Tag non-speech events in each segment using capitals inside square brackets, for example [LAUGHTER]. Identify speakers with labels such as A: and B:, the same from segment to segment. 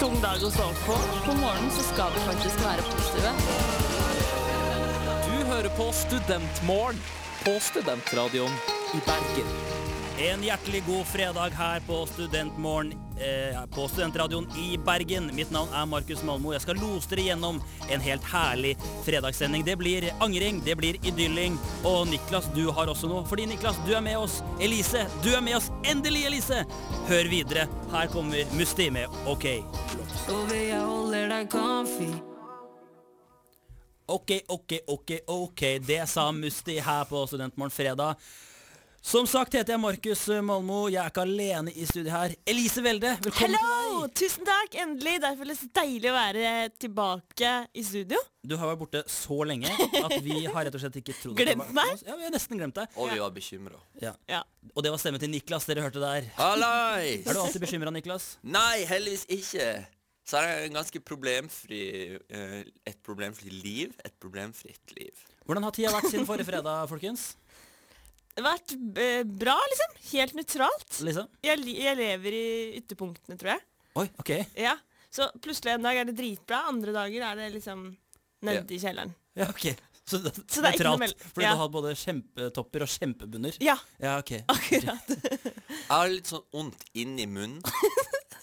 A: tung dag å stå opp på. På morgenen så skal vi faktisk være positive.
B: Du hører på Studentmorgen på Studentradioen i Bergen.
C: En hjertelig god fredag her på Studentmorgen eh, på Studentradioen i Bergen. Mitt navn er Markus Malmo. Jeg skal lose dere gjennom en helt herlig fredagssending. Det blir angring, det blir idylling. Og Niklas, du har også noe. Fordi Niklas, du er med oss. Elise, du er med oss. Endelig, Elise! Hør videre. Her kommer Musti med OK.
D: Over jeg holder deg comfy
C: OK, OK, OK, OK. Det sa Musti her på Studentmorgen fredag. Som sagt heter jeg Markus Malmo. Jeg er ikke alene i studio her. Elise Welde, velkommen til deg.
E: Hello! Tusen takk, endelig. Det er føles deilig å være tilbake i studio.
C: Du har vært borte så lenge at vi har rett og slett ikke trodd at
E: Glemt
C: det var-
E: meg?
C: Ja, vi har nesten glemt deg.
F: Og vi var bekymra.
C: Ja.
E: Ja.
C: Og det var stemmen til Niklas dere hørte der.
F: Hallais! [LAUGHS]
C: Er du alltid bekymra, Niklas?
F: Nei, heldigvis ikke. Så er det en ganske problemfri eh, Et problemfritt liv. Et problemfritt liv.
C: Hvordan har tida vært siden forrige fredag, folkens?
E: Det har vært eh, bra, liksom. Helt nøytralt.
C: Lise?
E: Jeg, li- jeg lever i ytterpunktene, tror jeg.
C: Oi, ok.
E: Ja. Så plutselig en dag er det dritbra, andre dager er det liksom nede i kjelleren.
C: Ja, ok. Så det,
E: Så det er ikke noe meld-
C: Fordi
E: Ja.
C: du har hatt både kjempetopper og kjempebunner.
E: Ja,
C: Ja, ok.
E: akkurat.
F: Jeg har litt sånn vondt inni munnen.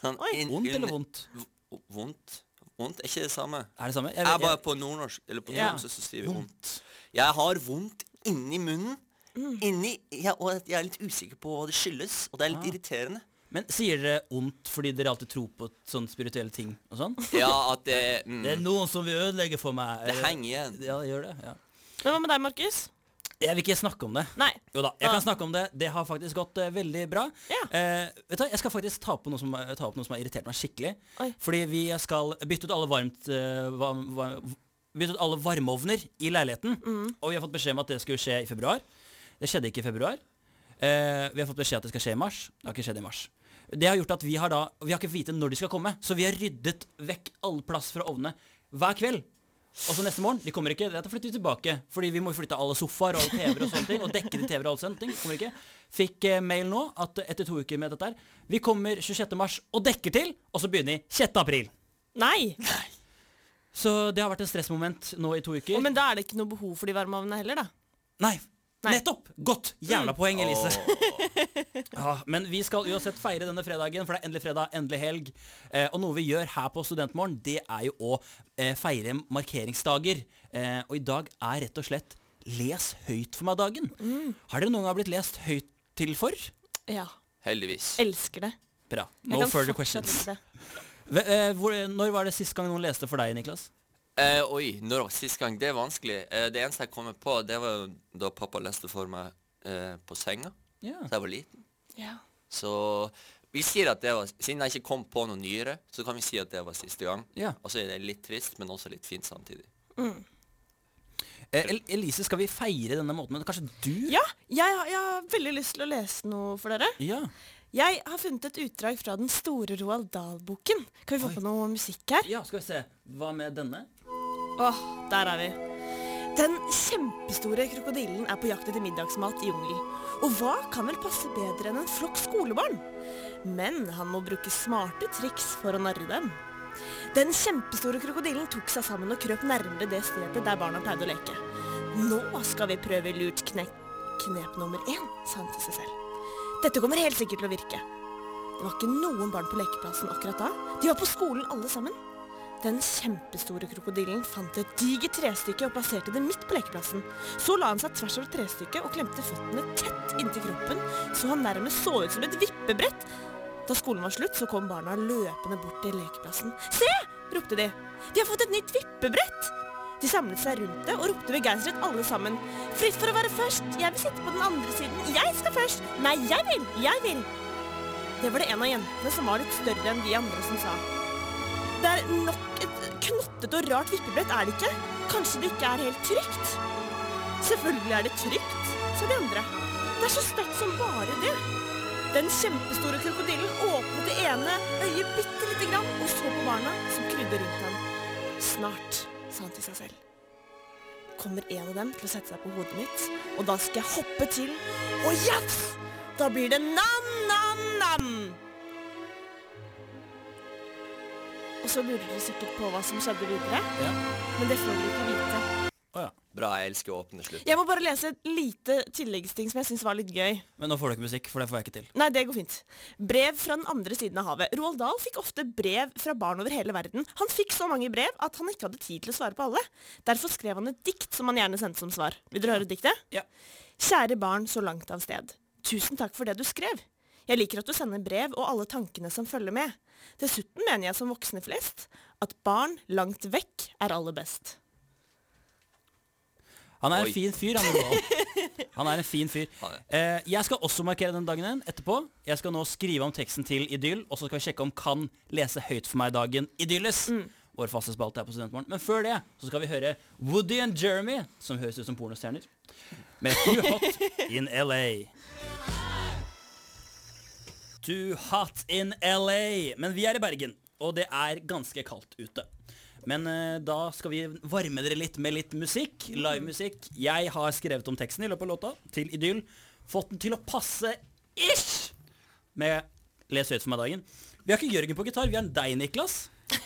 F: Sånn
E: Oi.
F: inn-
C: Vondt eller
F: under-
C: vondt?
F: V- Vondt? Vondt er ikke det samme.
C: Er det samme?
F: Jeg bare på nordnorsk Eller på
E: Ja.
F: nordnorsk så sier vi vondt. Jeg har vondt inni munnen. Inni jeg, Og jeg er litt usikker på hva det skyldes, og det er litt irriterende.
C: Men sier dere ondt fordi dere alltid tror på sånne spirituelle ting og sånn?
F: Ja, at det mm,
C: Det er noen som vil ødelegge for meg.
F: Det henger igjen.
C: Ja, det gjør det. Ja.
E: Men hva med deg, Markus?
C: Jeg vil ikke snakke om det.
E: Nei.
C: Jo da, jeg
E: Ah.
C: kan snakke om det. Det har faktisk gått eh, veldig bra.
E: Ja.
C: Eh, vet du, hva, Jeg skal faktisk ta opp noe som, eh, ta opp noe som har irritert meg skikkelig.
E: Oi.
C: Fordi vi skal bytte ut alle varmt eh, varm, varm, Bytte ut alle varmeovner i leiligheten. Og vi har fått beskjed om at det skulle skje i februar. Det skjedde ikke i februar. Eh, vi har fått beskjed at det skal skje i mars. Det har ikke skjedd i mars. Det har gjort at vi har da Vi har ikke vite når de skal komme, så vi har ryddet vekk all plass fra ovnene hver kveld. Og så neste morgen, de kommer ikke, da flytter vi tilbake. Fordi vi må flytte alle sofaer og alle TV-er og sånne ting. Og dekke de TV-er og alle sånne ting. Kommer ikke. Fikk eh, mail nå at etter to uker med dette her, vi kommer 26. mars og dekker til, og så begynner vi 6. april.
E: Nei.
C: Så det har vært et stressmoment nå i to uker.
E: Å, men da er det ikke noe behov for de varmeovnene heller, da.
C: Nei.
E: Nei. Mm.
C: Nettopp! Godt! Jævla poeng, Elise.
F: Åh.
C: [LAUGHS] Ja, men vi skal uansett feire denne fredagen, for det er endelig fredag, endelig helg. Eh, og noe vi gjør her på Studentmorgen, det er jo å eh, feire markeringsdager. Eh, og i dag er rett og slett Les høyt for meg-dagen.
E: Mm.
C: Har dere noen gang blitt lest høyt til for?
E: Ja.
F: Heldigvis.
E: Elsker det.
C: Bra.
E: Jeg
C: No
E: kan
C: further
E: fortsatt
C: questions.
E: ikke det.
C: Ve- eh, hvor, når var det sist gang noen leste for deg, Niklas?
F: Eh, oi, når var sist gang? Det er vanskelig. Eh, det eneste jeg kommer på, det var jo da pappa leste for meg eh, på senga
C: Ja.
F: da jeg var liten.
E: Ja.
F: Så vi sier at det var Siden jeg ikke kom på noe nyere, så kan vi si at det var siste gang.
C: Ja.
F: Og så er det litt trist, men også litt fint samtidig.
C: Eh, El Elise, skal vi feire denne måten? Men kanskje du?
E: Ja, jeg, har- jeg har veldig lyst til å lese noe for dere.
C: Ja.
E: Jeg har funnet et utdrag fra den store Roald Dahl-boken. Kan vi få på noe musikk her?
C: ja, skal vi se. Hva med denne?
E: Åh, der er vi. Den kjempestore krokodillen er på jakt etter middagsmat i jungelen. Og hva kan vel passe bedre enn en flokk skolebarn? Men han må bruke smarte triks for å narre dem. Den kjempestore krokodillen tok seg sammen og krøp nærmere det stedet der barna pleide å leke. Nå skal vi prøve lurt knep, knep nummer én, sa han til seg selv. Dette kommer helt sikkert til å virke. Det var ikke noen barn på lekeplassen akkurat da. De var på skolen alle sammen. Den kjempestore krokodillen fant et digert trestykke og plasserte det midt på lekeplassen. Så la han seg tvers over trestykket og klemte føttene tett inntil kroppen, så han nærmest så ut som et vippebrett. Da skolen var slutt, så kom barna løpende bort til lekeplassen. Se! ropte de. Vi har fått et nytt vippebrett! De samlet seg rundt det og ropte begeistret alle sammen. Fritt for å være først! Jeg vil sitte på den andre siden! Jeg skal først! Nei, jeg vil! Jeg vil! Det var det en av jentene som var litt større enn de andre som sa. Det er nok et knottete og rart vippebrett, er det ikke? Kanskje det ikke er helt trygt? Selvfølgelig er det trygt, sa de andre. Det er så støtt som bare det. Den kjempestore krokodillen åpnet det ene øyet bitte lite grann og så på barna som krydde rundt ham. Snart, sa han til seg selv. Kommer en av dem til å sette seg på hodet mitt, og da skal jeg hoppe til, og jafs! Da blir det nam-nam-nam! Og så lurer dere sikkert på hva som skjedde videre,
C: Ja.
E: men det får dere ikke vite.
C: Å ja.
F: Bra, jeg elsker å åpne slutt.
E: Jeg må bare lese et lite tilleggsting som jeg syns var litt gøy.
C: Men nå får du ikke musikk, for det får jeg ikke til.
E: Nei, det går fint. Brev fra den andre siden av havet. Roald Dahl fikk ofte brev fra barn over hele verden. Han fikk så mange brev at han ikke hadde tid til å svare på alle. Derfor skrev han et dikt som han gjerne sendte som svar. Vil dere høre diktet?
C: Ja.
E: Kjære barn så langt av sted. Tusen takk for det du skrev. Jeg liker at du sender brev og alle tankene som følger med. Dessuten mener jeg som voksne flest at barn langt vekk er aller best.
C: Han er
F: Oi.
C: en fin fyr, han Roald.
F: [LAUGHS]
C: Han er en fin fyr.
F: Han er-
C: Eh, jeg skal også markere den dagen igjen etterpå. Jeg skal nå skrive om teksten til Idyll, og så skal vi sjekke om kan lese høyt for meg dagen Idylles.
F: Mm.
C: Vår faste spalte her på Studentmorgen. Men før det så skal vi høre Woody and Jeremy, som høres ut som pornostjerner, med Too Hot in LA. Too hot in LA. Men vi er i Bergen, og det er ganske kaldt ute. Men eh, da skal vi varme dere litt med litt musikk. Livemusikk. Jeg har skrevet om teksten i løpet av låta til Idyll. Fått den til å passe ish med Les høyt for meg-dagen. Vi har ikke Jørgen på gitar, vi har deg, Niklas.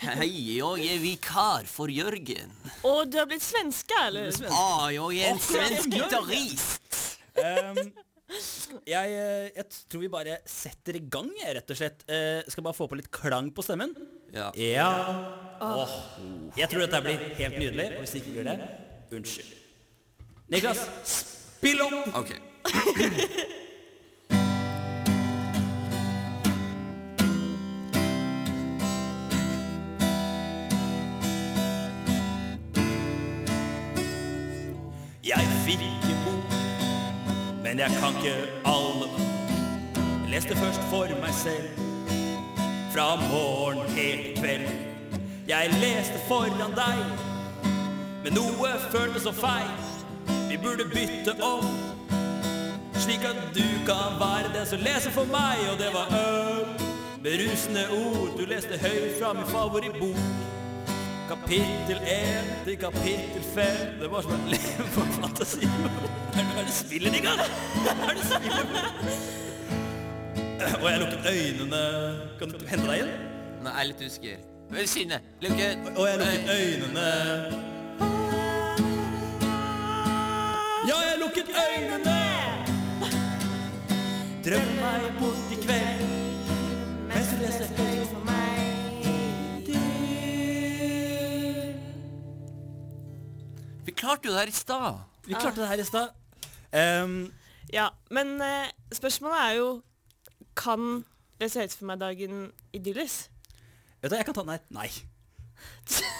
F: Hei, jeg er vikar for Jørgen.
E: Og du har blitt svenske, eller?
F: Ah, jeg er en
C: svensk
F: gitarist.
C: Ehm, jeg, eh, jeg tror vi bare setter i gang, jeg, rett og slett. Eh, skal bare få på litt klang på stemmen.
F: Ja.
C: Åh. Jeg tror dette blir helt nydelig, og hvis det ikke blir det, unnskyld. Niklas, spill opp!
F: Ok.
C: Jeg fikk en bok, men jeg kan ikke alle. Leste først for meg selv, fra morgen helt til kveld. Jeg leste foran deg, men noe føltes så feil. Vi burde bytte om, slik at du kan være den som leser for meg. Og det var øl, berusende ord, du leste høyt fra min favorittbok. Kapittel 1 til kapittel 5 Det var som å leve på fantasien. Hva er det du spiller, Niklas? Hva er det du spiller? Og jeg lukket øynene Kan du hente deg inn?
F: Nå er jeg litt usikker. Men Synne, Lukke.
C: Og jeg lukket øynene Ja, jeg lukket øynene Drøm meg bort i kveld Mens du leser høyt for meg
F: Vi klarte jo det her i stad.
C: Vi klarte det her i stad. Ehm,
E: Ja, men eh, spørsmålet er jo Kan lese høyt for meg dagen idylles?
C: vet du hva, jeg kan ta den her. Nei.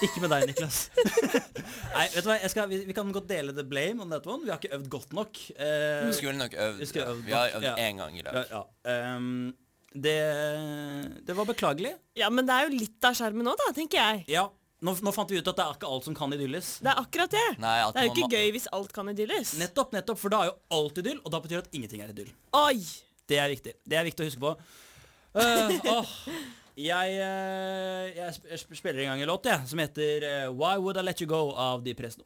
C: Ikke med deg, Niklas. Nei, vet du hva, jeg skal, vi, vi kan godt dele the blame on that one. Vi har ikke øvd godt nok. Eh,
F: Vi skulle nok øvd.
C: Vi skulle øvd,
F: Vi har
C: da.
F: øvd
C: Ja.
F: én gang i
C: ja,
F: dag.
C: ja. Ehm, det, det var beklagelig.
E: Ja, men det er jo litt av skjermen nå, da, tenker jeg.
C: Ja, nå, nå fant vi ut at det er ikke alt som kan idylles.
E: Det er akkurat det.
F: Nei, at
E: det er jo
F: man
E: ikke
F: må-
E: gøy hvis alt kan idylles.
C: Nettopp, nettopp, for da er jo alt idyll, og da betyr det at ingenting er idyll.
E: Oi!
C: Det er viktig. Det er viktig å huske på. Eh, åh. jeg, eh, jeg sp sp spiller en gang en låt jeg, som heter eh, Why Would I Let You Go av De Presto.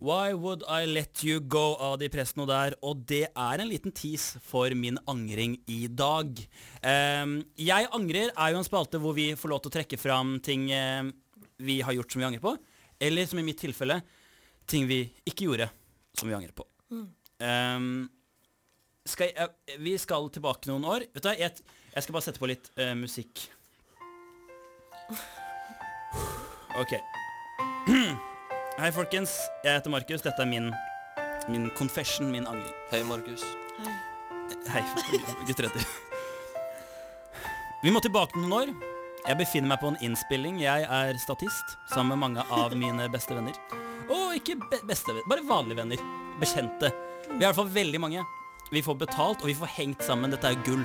C: Why Would I Let You Go av De Presto der, og det er en liten tease for min angring i dag. Ehm, jeg angrer er jo en spalte hvor vi får lov til å trekke fram ting eh, vi har gjort som vi angrer på, eller som i mitt tilfelle, ting vi ikke gjorde som vi angrer på. Ehm, skal jeg, eh, vi skal tilbake noen år. Vet du, hva, jeg, jeg skal bare sette på litt eh, musikk. Ok. Hei, folkens. Jeg heter Markus. Dette er min, min confession, min angring.
F: Hei, Markus.
C: Hei, gutteretter. Vi må tilbake noen år. Jeg befinner meg på en innspilling. Jeg er statist sammen med mange av mine beste venner. Og ikke be beste venner, bare vanlige venner. Bekjente. Vi er i hvert fall veldig mange. Vi får betalt, og vi får hengt sammen. Dette er gull.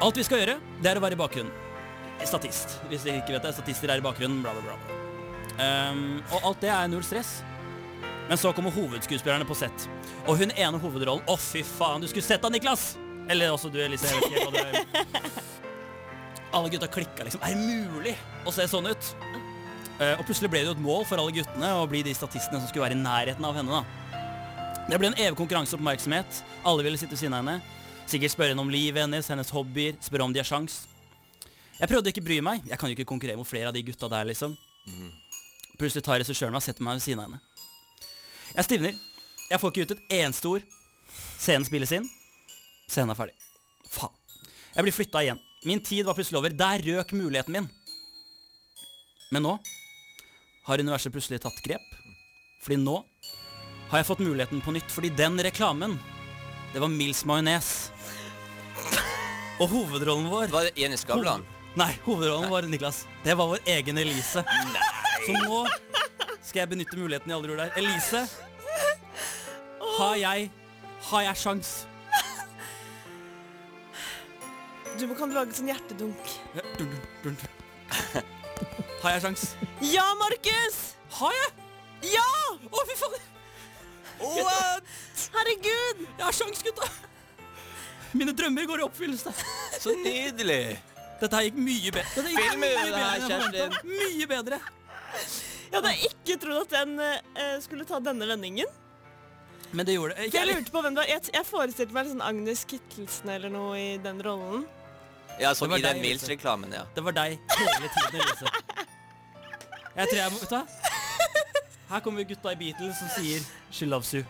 C: Alt vi skal gjøre, det er å være i bakgrunnen. Statist. Hvis dere ikke vet det, statister er i bakgrunnen, bla, bla, bla. Ehm, og alt det er null stress. Men så kommer hovedskuespillerne på sett. Og hun ene hovedrollen Å, fy faen, du skulle sett da, Niklas! Eller også du, Elise. Jeg vet ikke helt hva du Alle gutta klikka liksom. Er det mulig å se sånn ut? Eh, og plutselig ble det jo et mål for alle guttene å bli de statistene som skulle være i nærheten av henne. da Det ble en evig konkurranse og oppmerksomhet. Alle ville sitte ved siden av henne. Sikkert spørre henne om livet hennes, hennes hobbyer, spørre om de har sjans. Jeg prøvde å ikke bry meg. Jeg kan jo ikke konkurrere mot flere av de gutta der, liksom. Plutselig tar regissøren meg og setter meg ved siden av henne. Jeg stivner. Jeg får ikke ut et eneste ord. Scenen spilles inn. Scenen er ferdig. Faen. Jeg blir flytta igjen. Min tid var plutselig over. Der røk muligheten min. Men nå har universet plutselig tatt grep. Fordi nå har jeg fått muligheten på nytt. Fordi den reklamen, det var Mills majones. Og hovedrollen vår
F: Var det Jenny Skavlan?
C: Nei, hovedrollen var Niklas. Det var vår egen Elise. Så nå skal jeg benytte muligheten jeg aldri gjorde der. Elise, har jeg Har jeg sjans?
E: Du må kan lage sånn hjertedunk.
C: Har jeg sjans?
E: Ja, Markus!
C: Har jeg?
E: Ja!
C: Å, fy faen!
E: What? Herregud!
C: Jeg har sjans, gutta! Mine drømmer går i oppfyllelse.
F: Så nydelig!
C: Dette her gikk mye bedre. Dette gikk
F: Film i
C: mye
F: det
C: bedre
F: her,
C: enn jeg
F: Kjerstin.
C: forventet. Mye bedre.
E: Jeg hadde ikke trodd at den eh, skulle ta denne vendingen.
C: Men det gjorde det.
E: For jeg lurte på hvem det var. Jeg, jeg forestilte meg sånn Agnes Kittelsen eller noe i den rollen.
F: Ja, som
C: Det var
F: i den
C: deg,
F: Mills-reklamen, ja.
C: Det var deg hele tiden, Elise. Jeg tror jeg må Vet du hva? Her kommer gutta i Beatles som sier She loves you.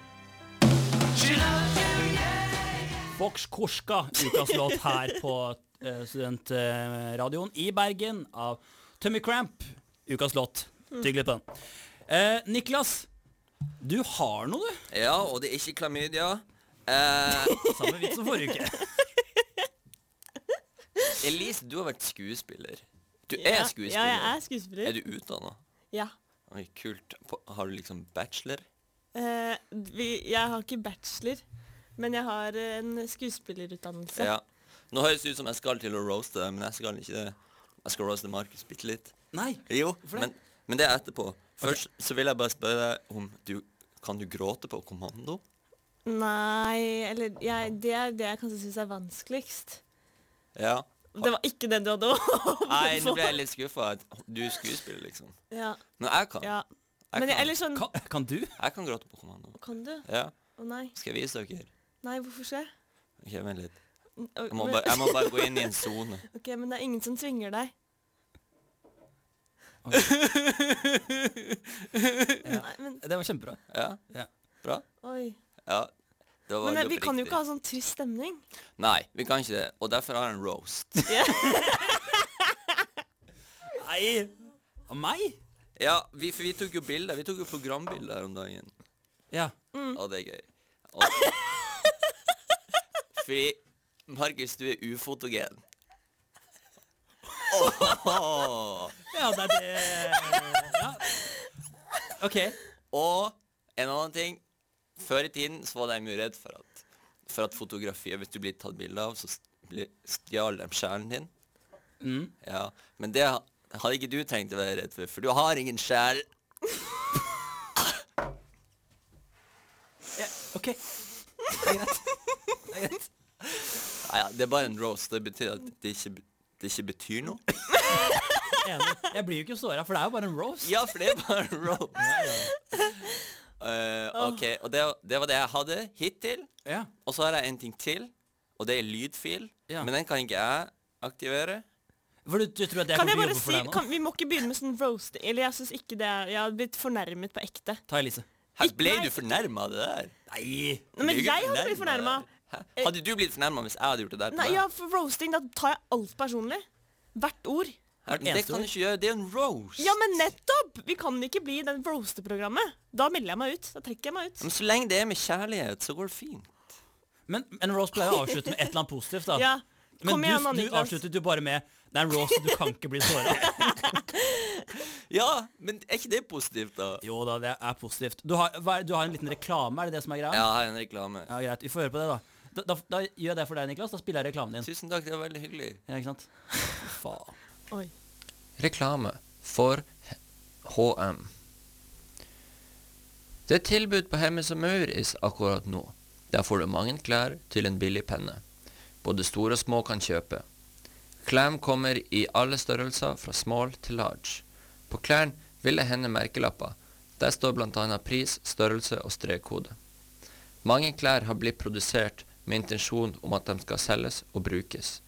C: Vox Korska, ukas låt her på eh, studentradioen i Bergen av Tummy Cramp. Ukas låt. Tygg litt på den. Eh, Niklas, du har noe, du.
F: Ja, og det er ikke klamydia. Eh,
C: Samme vits som forrige uke.
F: Elise, du har vært skuespiller. Du
E: Ja,
F: er
E: Ja,
F: skuespiller.
E: jeg er skuespiller.
F: Er du utdanna?
E: Ja.
F: Oi, kult. På- Har du liksom bachelor?
E: Eh, vi, jeg har ikke bachelor, men jeg har en skuespillerutdannelse.
F: Ja. Nå høres det ut som jeg skal til å roaste deg, men jeg skal ikke det. Jeg skal roaste Markus bitte litt.
C: Nei.
F: Jo,
C: det?
F: men, men det er etterpå. Først så vil jeg bare spørre deg om du Kan du gråte på kommando?
E: Nei, eller jeg, det er det jeg kanskje syns er vanskeligst.
F: Ja.
E: Det var ikke det du hadde håpet
F: Nei, nå
E: på.
F: ble jeg litt skuffa. Du er skuespiller, liksom.
E: [LAUGHS] Ja,
F: Men jeg kan.
E: ja.
F: Jeg
E: Men jeg,
F: kan.
E: eller sånn
C: Kan, kan du?
F: Jeg kan gråte på kommando.
E: Kan du?
F: Ja.
E: Å nei.
F: Skal jeg vise dere?
E: Nei, hvorfor skal jeg?
F: Ok, Vent litt.
E: Å,
F: Jeg må,
E: men-
F: bare, jeg må bare gå inn i en sone.
E: Ok, men det er ingen som tvinger deg. [LAUGHS] Nei, men
C: Det var kjempebra.
F: Ja,
C: Ja.
F: bra.
E: oi.
F: Ja. Det var
E: Men
F: veldig
E: eh, vi kan jo
F: oppriktig.
E: ikke ha sånn trist stemning.
F: Nei, vi kan ikke det. Og derfor har jeg en roast.
C: Nei. Av meg?
F: Ja, vi, for vi tok jo bilder. Vi tok jo programbilder her om dagen.
C: Ja.
E: Mm.
F: Og det er gøy.
E: [LAUGHS]
F: Og... Fordi Markus, du er ufotogen.
C: Ja, det er det ja. OK.
F: Og en annen ting. Før i tiden så var de mye redd for at, for at fotografiet, hvis du blir tatt bilde av, så st- blir- stjal de sjelen din. Ja, Men det ha- hadde ikke du tenkt å være redd for, for du har ingen sjel.
C: Ja, ok Det er greit. Det er greit.
F: Nei, ja, det er bare en roast. Det betyr at det ikke, be- det ikke betyr noe.
C: Enig. Jeg blir jo ikke såra, for det er jo bare en rose.
F: Ja, for det er bare en roast. [LAUGHS] Eh, OK. Og det, det var det jeg hadde hittil.
C: Ja.
F: Og så har jeg en ting til, og det er lydfil.
C: Ja.
F: Men den kan ikke jeg aktivere.
C: For du, du tror at jeg
E: Kan
C: kommer til å
E: jeg bare
C: jobbe for
E: si,
C: deg nå?
E: kan, Vi må ikke begynne med sånn roast. Eller jeg synes ikke det er Jeg har blitt fornærmet på ekte.
C: Ta Elise.
F: Her
E: Ikke-
F: ble
E: nei.
F: du fornærma av det der?
C: Nei.
E: Nei, men
F: Du er ikke
E: jeg hadde blitt fornærma.
F: fornærmet av det der. Hæ? Hadde du blitt fornærma hvis jeg hadde gjort det der? til
E: Nei,
F: deg?
E: ja, for roasting, da tar jeg alt personlig. Hvert ord.
F: Her- det
C: eneste
F: kan du ikke gjøre. Det er en roast.
E: Ja, men nettopp! Vi kan ikke bli i det roasteprogrammet. Da melder jeg meg ut. Da trekker jeg meg ut.
F: Men så lenge det er med kjærlighet, så går det fint.
C: Men en rose pleier å avslutte med et eller annet positivt. da
E: Ja.
C: Men
E: Kom igjen, da,
C: du, du
E: Niklas.
C: avsluttet jo bare med Det er en rose, du kan ikke bli såra.
E: [LAUGHS]
F: Ja, men er ikke det positivt, da?
C: Jo da, det er positivt. Du har, hva er- du har en liten reklame, er det det som er greia?
F: Ja, her er en reklame.
C: ja greit. Vi får høre på det, da. Da, da, da gjør jeg det for deg, Niklas. Da spiller jeg reklamen din.
F: Tusen takk, det var veldig hyggelig.
C: Ja, ikke sant? Faen.
E: Oi.
G: Reklame for HM. Det er tilbud på Hemmes og Mauris akkurat nå. Der får du mange klær til en billig penne. Både store og små kan kjøpe. Klærne kommer i alle størrelser, fra small til large. På klærne vil det hende merkelapper. Der står bl.a. pris, størrelse og strekkode. Mange klær har blitt produsert
F: med intensjon om at de skal selges og brukes.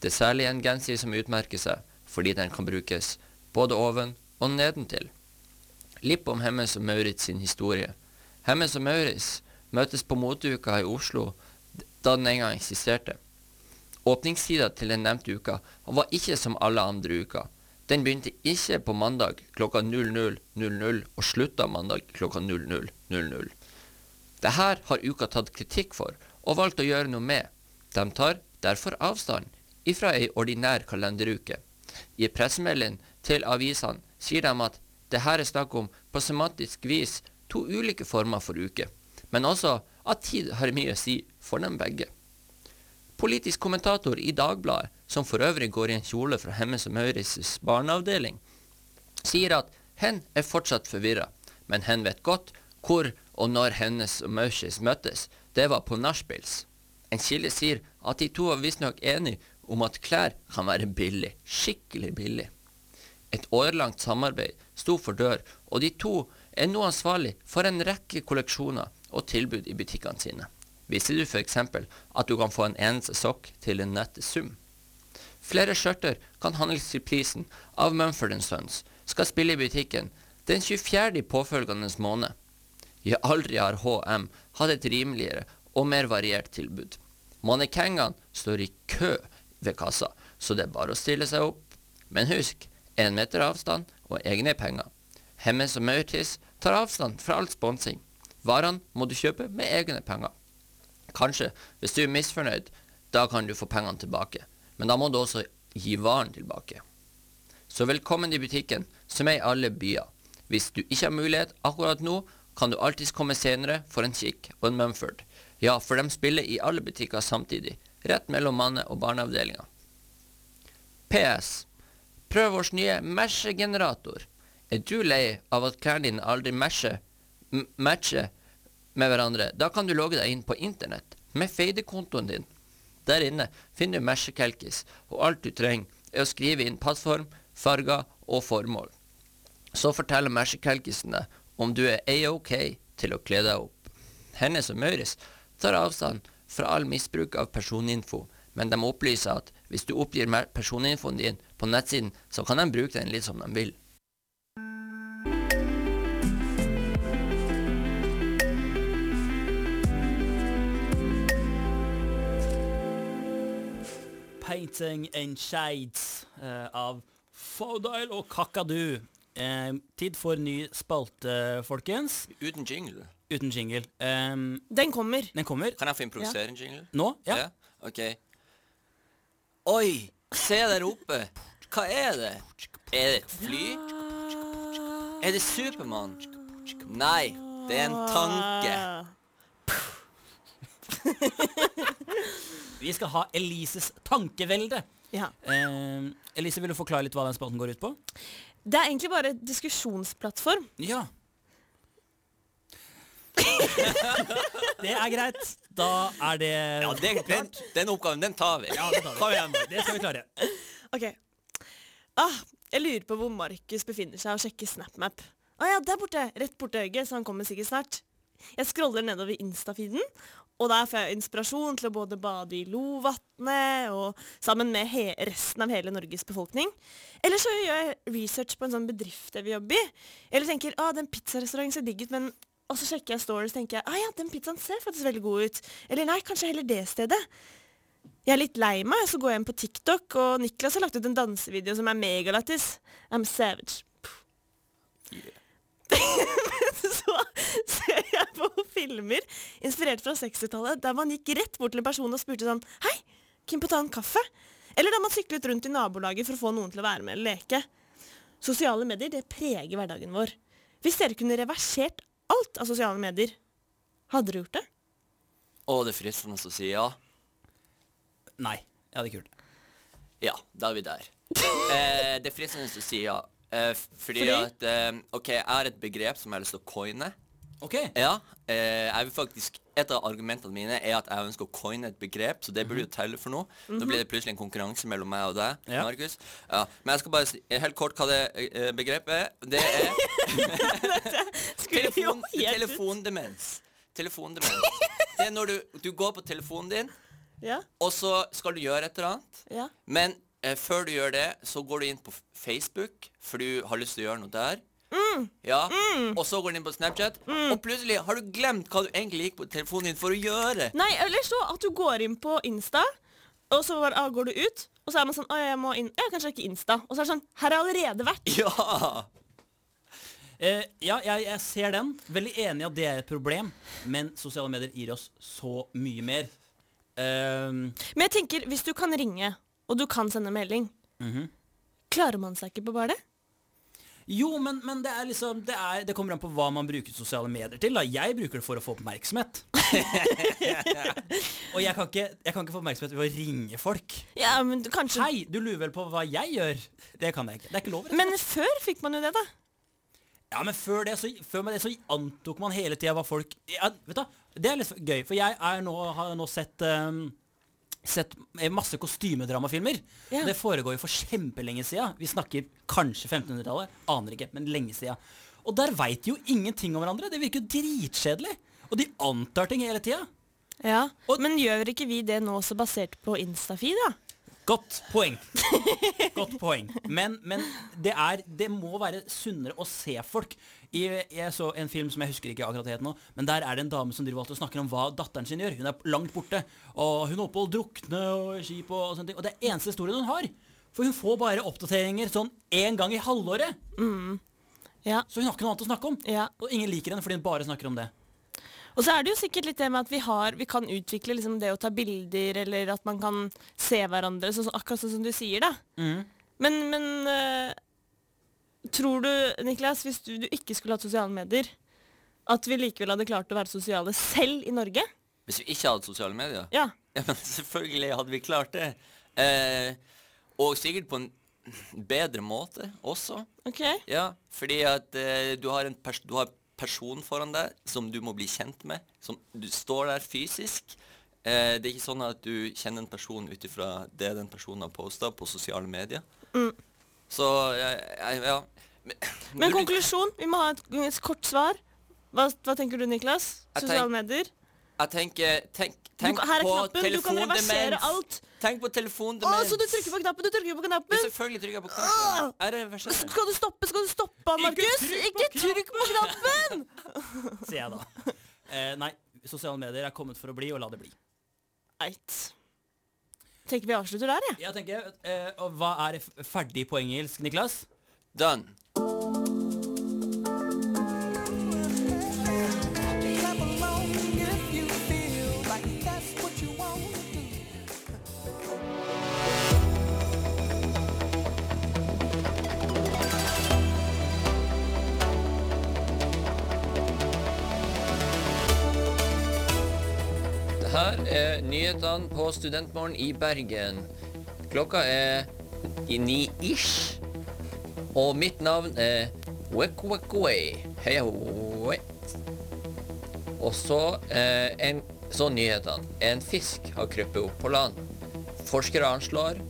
F: Det er særlig en genser som utmerker seg fordi den kan brukes både oven og nedentil. Lipp om Hemmes og Maurits sin historie. Hemmes og Maurits møtes på moteuka i Oslo da den en gang eksisterte. Åpningstida til den nevnte uka var ikke som alle andre uker. Den begynte ikke på mandag klokka 00.00 og slutta mandag klokka 00.00. Det her har uka tatt kritikk for og valgt å gjøre noe med. De tar derfor avstand ifra ei ordinær kalenderuke. I pressemeldingen til avisene sier de at det her er snakk om på sematisk vis to ulike former for uke, men også at tid har mye å si for dem begge. Politisk kommentator i Dagbladet, som for øvrig går i en kjole fra Hemmes og Maurits' barneavdeling, sier at hen er fortsatt forvirra, men hen vet godt hvor og når hennes og Maurits møttes. Det var på nachspiels. En kilde sier at de to var visstnok enige om at klær kan være billig, skikkelig billig. Et årelangt samarbeid sto for dør, og de to er nå ansvarlig for en rekke kolleksjoner og tilbud i butikkene sine. Visste du f.eks. at du kan få en eneste sokk til en nette sum? Flere skjørter kan handles til prisen av Mumford Sons, skal spille i butikken den 24. i påfølgende måned. Ja, aldri har HM hatt et rimeligere og mer variert tilbud. Mannekengene står i kø ved kassa, så det er bare å stille seg opp. Men husk, én meter avstand og egne penger. Hemmes og Mauritius tar avstand fra all sponsing. Varene må du kjøpe med egne penger. Kanskje, hvis du er misfornøyd, da kan du få pengene tilbake. Men da må du også gi varen tilbake. Så velkommen i butikken, som er i alle byer. Hvis du ikke har mulighet akkurat nå, kan du alltids komme senere for en kikk og en Mumford. Ja, for de spiller i alle butikker samtidig, rett mellom manne- og barneavdelinga. PS. Prøv vår nye mesjegenerator. Er du lei av at klærne dine aldri mesjer, m- matcher med hverandre? Da kan du logge deg inn på internett med feidekontoen din. Der inne finner du mesjekelkis, og alt du trenger er å skrive inn passform, farger og formål. Så forteller mesjekelkisene om du er A-OK til å kle deg opp. Hennes og Mauris tar avstand fra all misbruk av personinfo, men de opplyser at hvis du oppgir mer- personinfoen din på nettsiden, så kan de bruke den litt som de vil.
B: Painting in Shades eh, av Faudile og Kakadu. Eh, tid for ny spalte, folkens.
C: Uten jingle.
B: Uten jingle. Eh,
E: Den kommer.
B: den kommer
C: Kan jeg få improvisere en jingle?
B: nå. Ja.
C: Ok. Oi, se der oppe. Hva er det? Er det et fly? Er det Supermann? Nei, det er en tanke.
B: Vi skal ha Elises tankevelde.
E: Ja.
B: Eh, Elise, vil du forklare litt hva den spalten går ut på?
E: Det er egentlig bare diskusjonsplattform.
B: Ja. [LAUGHS] det er greit. Da er det
C: Ja, det, den, den oppgaven, den tar vi.
B: Ja, det tar vi.
C: Kom igjen.
B: Det skal vi klare.
E: Ok. Ah, jeg lurer på hvor Markus befinner seg og sjekker SnapMap. Å ah, ja, der borte. Rett borte øyet, så han kommer sikkert snart. Jeg scroller nedover Insta-feeden, og der får jeg inspirasjon til å både bade i Lovatnet og sammen med he resten av hele Norges befolkning. Eller så gjør jeg research på en sånn bedrift jeg vil jobbe i. Eller tenker ah, den pizzarestauranten ser digg ut, men Og så sjekker jeg stories og tenker jeg, ah, ja, den pizzaen ser faktisk veldig god ut. Eller nei, kanskje heller det stedet. Jeg er litt lei meg, så går jeg inn på TikTok, og Niklas har lagt ut en dansevideo som er megalættis. I'm savage. [LAUGHS] så ser jeg på filmer inspirert fra 60-tallet, der man gikk rett bort til en person og spurte sånn Hei, kan vi få ta en kaffe? Eller da man syklet rundt i nabolaget for å få noen til å være med eller leke. Sosiale medier det preger hverdagen vår. Hvis dere kunne reversert alt av sosiale medier, hadde dere gjort det?
C: Å, det er fristende å si ja.
B: Nei. Ja, det er kult.
C: Ja, da er vi der. Eh, det er fristende å si ja. Eh, f- fordi,
E: Fordi?
C: at eh, OK, jeg har et begrep som jeg har lyst til å coine.
B: OK.
C: Ja. Eh, jeg vil faktisk Et av argumentene mine er at jeg ønsker å coine et begrep, så det burde jo telle for noe. Da blir det plutselig en konkurranse mellom meg og deg,
B: Ja.
C: Markus. Ja. Men jeg skal bare si helt kort hva det eh, begrepet er. Det er
E: Skulle jo
C: telefon,
E: helt ut.
C: telefondemens. Telefondemens. Det det er når du, du går på telefonen din,
E: Ja,
C: og så skal du gjøre et eller annet.
E: ja.
C: Men eh, før du gjør det, så går du inn på f- Facebook, for du har lyst til å gjøre noe der. Ja, Og så går du inn på Snapchat, og plutselig har du glemt hva du egentlig gikk på telefonen din for å gjøre.
E: Nei, eller så at du går inn på Insta, og så bare, ah, går du ut, og så er man sånn Å, jeg må inn Ja, kanskje ikke Insta. Og så er det sånn Her har jeg allerede vært.
C: Ja!
B: Eh, ja, jeg, jeg ser den. Veldig enig i at det er et problem, men sosiale medier gir oss så mye mer. Ehm,
E: Men jeg tenker, hvis du kan ringe, og du kan sende melding, klarer man seg ikke på bare det?
B: jo, men, men det er liksom det, er, det kommer an på hva man bruker sosiale medier til. Da. Jeg bruker det for å få oppmerksomhet. Og jeg kan, ikke, jeg kan ikke få oppmerksomhet ved å ringe folk.
E: Ja, men du- kanskje
B: Hei, du lurer vel på hva jeg gjør? Det kan jeg ikke. Det er ikke lov. rett og slett.
E: Men før fikk man jo det, da.
B: Ja, men før det så, før med det, så antok man hele tida hva folk ja, Vet du, Det er litt gøy, for jeg er nå, har nå sett ehm, Sett masse kostymedramafilmer.
E: Ja.
B: Det foregår jo for kjempelenge sida. Vi snakker kanskje 1500-tallet. Aner ikke, men lenge sida. Og der veit de jo ingenting om hverandre. Det virker jo dritkjedelig. Og de antar ting hele tida.
E: Ja,
B: Og-
E: Men gjør ikke vi det nå også basert på Instafi, da?
B: Godt poeng. Godt poeng. Men, men det, er, det må være sunnere å se folk. I, jeg så en film som jeg husker ikke akkurat het nå, men der er det en dame som driver alltid og snakker om hva datteren sin gjør. Hun er langt borte, og hun holder på å drukne og skip og, og sånne ting. Og det er eneste historien hun har. For hun får bare oppdateringer sånn én gang i halvåret.
E: Ja.
B: Så hun har ikke noe annet å snakke om.
E: Ja.
B: Og ingen liker henne fordi hun bare snakker om det.
E: Og så er det jo sikkert litt det med at vi, har, vi kan utvikle liksom det å ta bilder, eller at man kan se hverandre, sånn, som- akkurat sånn som du sier, da.
C: Mm.
E: Men, men eh, tror du, Niklas, hvis du, du ikke skulle hatt sosiale medier, at vi likevel hadde klart å være sosiale selv i Norge?
C: Hvis vi ikke hadde sosiale medier
E: Ja.
C: Ja, men selvfølgelig hadde vi klart det. Eh, og sikkert på en bedre måte også.
E: OK.
C: Ja, fordi at eh, du har en pers du har person foran deg som du må bli kjent med. Som du står der fysisk. Eh, det er ikke sånn at du kjenner en person ut ifra det den personen har posta på sosiale medier.
E: Mm.
C: Så jeg, jeg, ja. Men,
E: Men
C: når du-
E: konklusjon, vi må ha et, et kort svar. Hva, hva tenker du, Niklas?
C: Jeg
E: Sosiale medier?
C: jeg tenker Tenk, tenk
E: du, her er
C: på
E: knappen, du kan reversere
C: telefondemens.
E: alt.
C: Tenk på
E: Å,
C: telefondemens.
E: så du trykker på knappen, du trykker på knappen.
C: Selvfølgelig trykker jeg på knappen. Jeg reverserer.
E: Skal du stoppe, skal du stoppe han, Markus? Ikke trykk på knappen!
B: Sier jeg da. Eh, nei, sosiale medier er kommet for å bli, og la det bli.
E: Eit. Tenker vi avslutter der, jeg.
B: Jeg tenker, eh, og Hva er f- ferdig på engelsk, Niklas?
C: Done.
F: Det her er nyhetene på Studentmorgen i Bergen. Klokka er i ni-ish. Og mitt navn er Wekwekwe. Heia hoi. Og så, eh, en, så nyhetene. En fisk har krøpet opp på land. Forskere anslår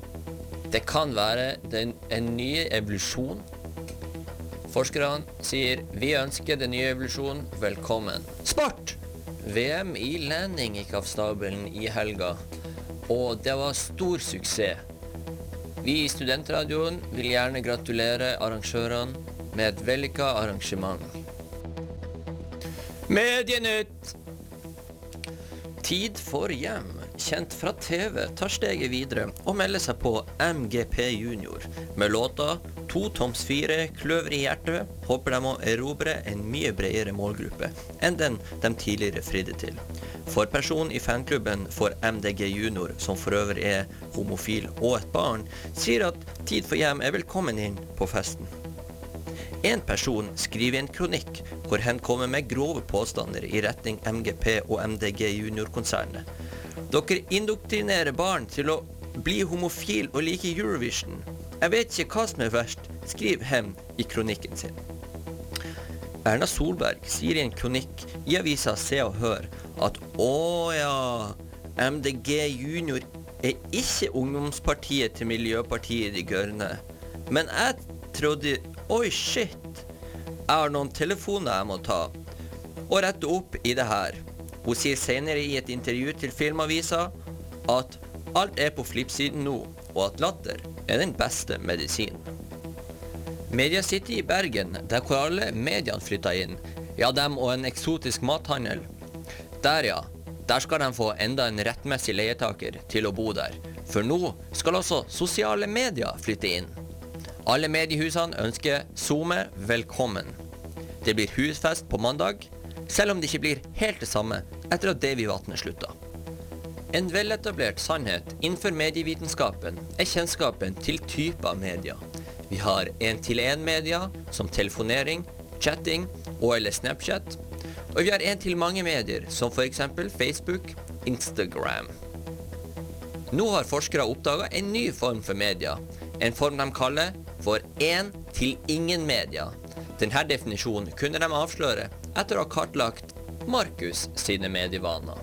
F: det kan være den, en ny evolusjon. Forskerne sier vi ønsker den nye evolusjonen velkommen. Sport! VM i landing gikk av stabelen i helga, og det var stor suksess. Vi i Studentradioen vil gjerne gratulere arrangørene med et vellykka arrangement. Medienytt! Tid for hjem, kjent fra TV, tar steget videre og melder seg på MGP Junior. Med låta 'To toms fire kløver i hjertet' håper de å erobre en mye bredere målgruppe enn den de tidligere fridde til. For personen i fanklubben for MDG Junior, som for øvrig er homofil og et barn, sier at 'Tid for hjem' er velkommen inn på festen. En person skriver en kronikk hvor hen kommer med grove påstander i retning MGP og MDG junior-konsernet. Dere indoktrinerer barn til å bli homofil og like Eurovision. Jeg vet ikke hva som er verst, skriver Hem i kronikken sin. Erna Solberg sier i en kronikk i avisa Se og Hør at å ja, MDG junior er ikke ungdomspartiet til Miljøpartiet De Grønne. Men jeg trodde Oi, shit! Jeg har noen telefoner jeg må ta og rette opp i det her. Hun sier senere i et intervju til Filmavisa at alt er på flippsiden nå, og at latter er den beste medisin. Media City i Bergen, der hvor alle mediene flytta inn, ja dem og en eksotisk mathandel. Der ja, der skal de få enda en rettmessig leietaker til å bo der, for nå skal også sosiale medier flytte inn. Alle mediehusene ønsker SoMe velkommen. Det blir husfest på mandag, selv om det ikke blir helt det samme etter at Davy-vatnet slutta. En veletablert sannhet innenfor medievitenskapen er kjennskapen til typer medier. Vi har én-til-én-media, som telefonering, chatting og eller Snapchat. Og vi har én-til-mange-medier, som f.eks. Facebook, Instagram. Nå har forskere oppdaga en ny form for media. En form de kaller for én-til-ingen-media. Denne definisjonen kunne de avsløre etter å ha kartlagt Markus sine medievaner.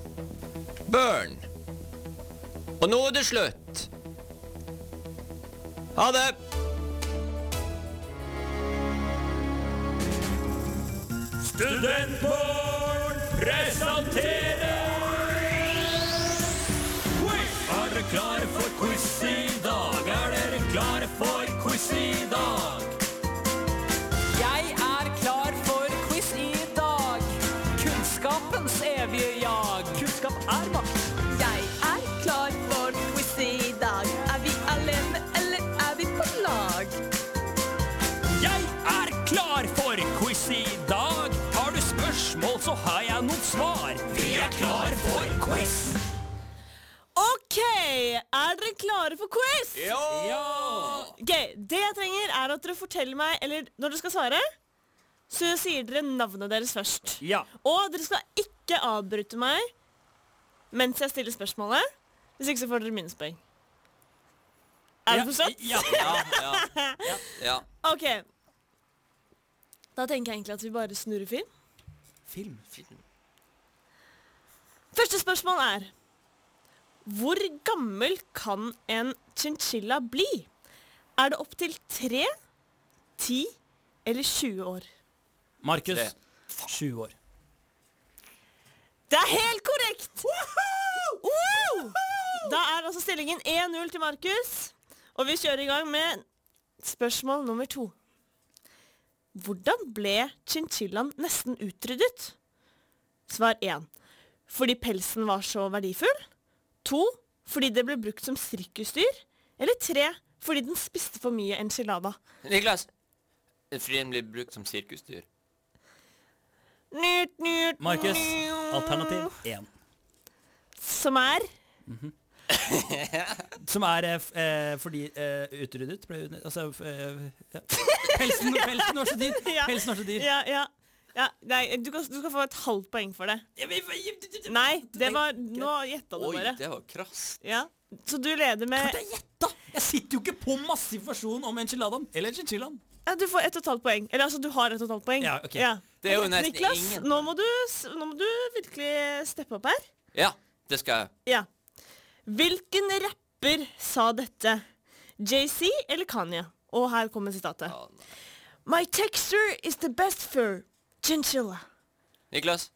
F: Burn! Og nå er det slutt! Ha det!
C: Jeg er klar for quiz i dag. Kunnskapens evige jag. Kunnskap er makt.
A: Jeg er klar for quiz i dag. Er vi alene, eller er vi på lag?
B: Jeg er klar for quiz i dag. Har du spørsmål, så har jeg noen svar. Vi er klar for quiz.
E: OK, er dere klare for quiz? Ok, Det jeg trenger, er at dere forteller meg, eller når dere skal svare, så sier dere navnet deres først.
B: Ja.
E: Og dere skal ikke avbryte meg mens jeg stiller spørsmålet. Hvis ikke så får dere minuspoeng. Er det forstått?
B: Ja.
H: Ja, ja, ja.
E: OK. Da tenker jeg egentlig at vi bare snurrer film.
B: Film.
E: Første spørsmål er Hvor gammel kan en chinchilla bli? Er det opptil 3, 10 eller 20 år?
B: Markus.
H: Tre.
B: Sju år.
E: Det er helt korrekt! Wow! Da er altså stillingen 1-0 til Markus. Og vi kjører i gang med spørsmål nummer to. Hvordan ble chinchillaen nesten utryddet? Svar 1. Fordi pelsen var så verdifull. 2. Fordi det ble brukt som sirkusdyr. Eller 3. Fordi den spiste for mye enchilada.
H: Niklas. Frien blir brukt som sirkusdyr.
E: Nyt, nyt,
B: Markus.
E: nyt,
B: Alternativ én.
E: Som er
B: Som er eh, f- eh, fordi eh, utryddet ble ut- Altså eh, ja. pelsen, pelsen var så [LAUGHS] dyr!
E: Ja.
B: Pelsen var så dyr.
E: Ja, ja. ja nei, du, kan, du kan få et halvt poeng for det. Nei, det var Nå gjetta du
H: Oi,
E: bare.
H: det var krast.
E: Ja. Så du leder med
B: Jeg gjetta! Jeg sitter jo ikke på masse informasjon om enchiladaen. Eller chinchillaen.
E: ja, Du får ett og et halvt poeng. Eller altså, du har ett og et halvt poeng.
B: Ja, ok.
H: Det er jo nesten
E: Niklas,
H: ingen.
E: nå må, du, s- nå må du virkelig steppe opp her.
H: Ja, det skal jeg.
E: Ja. Hvilken rapper sa dette? JC eller Kanye? Og her kommer sitatet.
H: Ja, nei.
E: My texture is the best fur. Chinchilla.
H: Niklas.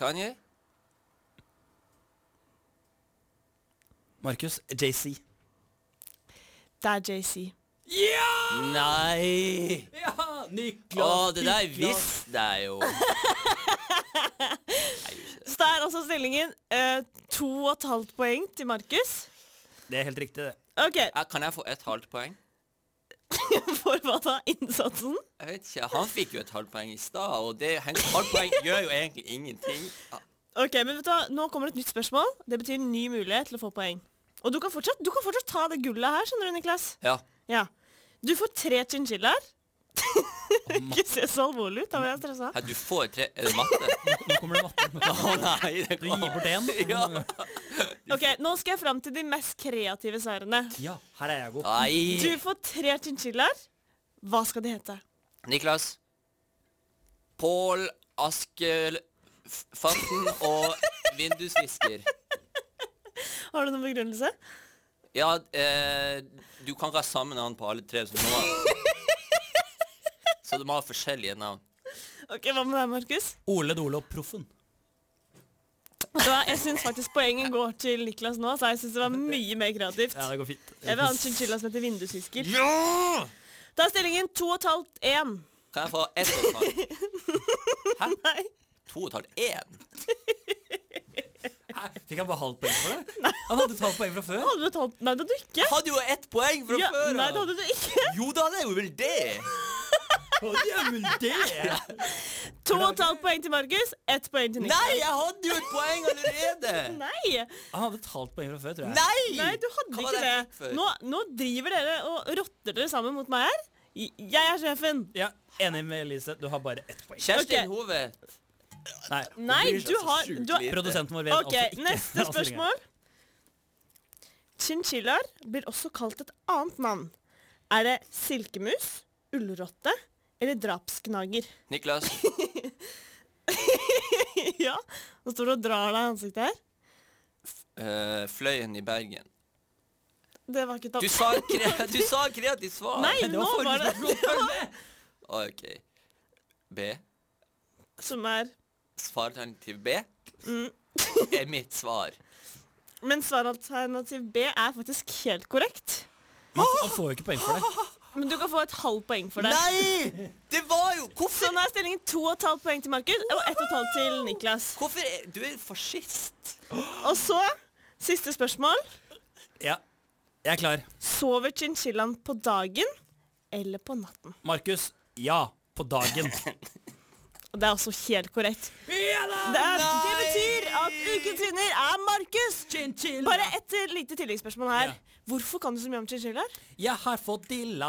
H: Kanye?
B: Markus. JC.
E: Det er JC.
H: Nei!
B: Ja,
H: Å,
B: Niklas.
H: det der visste jeg jo.
E: Så det er altså stillingen eh, to og et halvt poeng til Markus.
B: Det er helt riktig, det.
E: OK,
H: Ja, Kan jeg få et halvt poeng?
E: [LAUGHS] for hva da? Innsatsen?
H: Jeg vet ikke, Han fikk jo et halvt poeng i stad, og det et halvt poeng gjør jo egentlig ingenting. Ja,
E: Ok, men vet du hva? Nå kommer det et nytt spørsmål. Det betyr en ny mulighet til å få poeng. Og du kan fortsatt, du kan fortsatt ta det gullet her, skjønner du, Niklas.
H: Ja.
E: Ja. Du får tre chinchillaer. [LAUGHS] Ikke se så alvorlig ut, da var jeg stressa.
H: Her, du får tre Er det matte?
B: Nå kommer det matte.
H: Å nei, det
B: Du gir bort én. [LAUGHS]
H: Ja.
E: Ok, Nå skal jeg fram til de mest kreative svarene.
B: Ja, her er jeg god.
E: Du
H: Nei.
E: får tre chinchillaer. Hva skal de hete?
H: Niklas. Pål Askelfatten og vindusvisker.
E: Har du noen begrunnelse?
H: Ja, eh, du kan ikke ha samme navn på alle tre, så du må ha Så du må ha forskjellige navn.
E: Ok, Hva med deg, Markus?
B: Ole Dole og Proffen.
E: Det var, jeg syns faktisk poenget går til Niklas nå, så jeg syns det var mye mer kreativt.
B: Ja, det går fint.
E: Jeg vil ha en chinchilla som heter vindusvisker. Ja! Da er stillingen 2,5-1.
F: Kan jeg få ett og et halvt?
E: Nei.
F: To og et halvt? Én?
B: Hæ? [LAUGHS] Fikk han bare halvt poeng for det? Han hadde et halvt poeng fra før.
E: Hadde du talt Nei, det hadde du ikke.
F: Hadde jo ett poeng fra
E: Ja,
F: før
E: nei, det hadde du ikke.
F: Jo da, det er jo vel det!
B: Ja, men det!
E: To og et halvt poeng til Markus, ett poeng til Niklas.
F: Nei, jeg hadde jo et poeng allerede!
E: Nei!
B: Han hadde et halvt poeng fra før, tror jeg.
F: Nei!
E: Nei, du hadde
F: Hva var
E: ikke
F: det jeg fikk
E: det.
F: før?
E: Nå, nå driver dere og rotter dere sammen mot meg her. Jeg er sjefen.
B: Ja, Enig med Elise. Du har bare ett poeng.
F: Kjerstin
E: Ok.
F: Hove.
B: Nei.
E: Nei,
F: bryr seg
E: du
F: så
E: har,
F: sjukt
E: du har
F: lite.
B: Produsenten vår vet
E: OK,
B: altså ikke
F: [LAUGHS]
E: neste
B: avstillingen.
E: spørsmål. Chinchillaer blir også kalt et annet navn. Er det silkemus, ullrotte eller drapsknager? [LAUGHS]
F: Niklas.
E: ja, nå står du og drar deg i ansiktet her.
F: eh, fløyen i Bergen.
E: Det var ikke
F: Du
E: tatt.
F: sa, kre [LAUGHS] du sa kreativt svar! [LAUGHS]
E: Nei, nå var det
F: OK. B.
E: som er
F: Svaralternativ B er mitt svar.
E: Men svaralternativ B er faktisk helt korrekt.
B: Han får jo ikke poeng for
E: [LAUGHS]
B: det.
E: Men du kan få et halvt poeng for det.
F: Nei! Det var jo Hvorfor?
E: Sånn er stillingen to og et halvt poeng til Markus og ett og et halvt til Niklas.
F: Hvorfor er, Du er fascist.
E: Og så, siste spørsmål.
B: Ja, Jeg er klar.
E: Sover chinchillaen på dagen eller på natten?
B: Markus. Ja. På dagen.
E: Og det er også helt korrekt. Det, er, det betyr at ukens vinner er Markus! Bare et eh, lite tilleggsspørsmål her.
B: Ja.
E: Hvorfor kan du så mye om chinchillaer?
B: Jeg har fått dilla.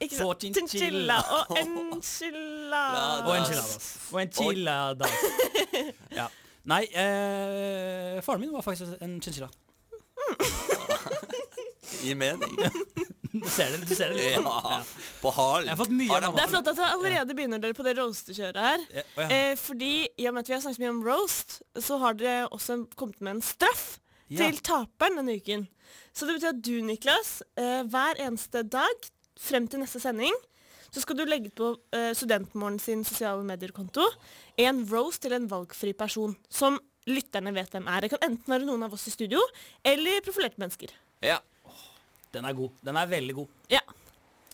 E: Ikke
B: Få
E: sant? Chinchilla [LAUGHS] og enchilada.
B: Og en chilladas. Og en chilladas. [LAUGHS] Ja. Nei, eh, faren min var faktisk en chinchilla.
F: I mening.
B: Du ser det, du ser det. litt.
F: Ja. På halen.
B: Jeg har fått mye av
E: Det er
B: mamma.
E: flott at dere allerede begynner dere på det roastekjøret her.
B: Ja, å ja.
E: Eh, fordi i og med at vi har snakket mye om roast, så har dere også kommet med en straff
B: Ja.
E: til taperen denne uken. Så det betyr at du, Niklas, eh, hver eneste dag frem til neste sending, så skal du legge på eh, Studentmorgen sin sosiale medier-konto en roast til en valgfri person som lytterne vet hvem er. Det kan enten være noen av oss i studio eller profilerte mennesker.
F: Ja.
B: Den er god. Den er veldig god.
E: Ja.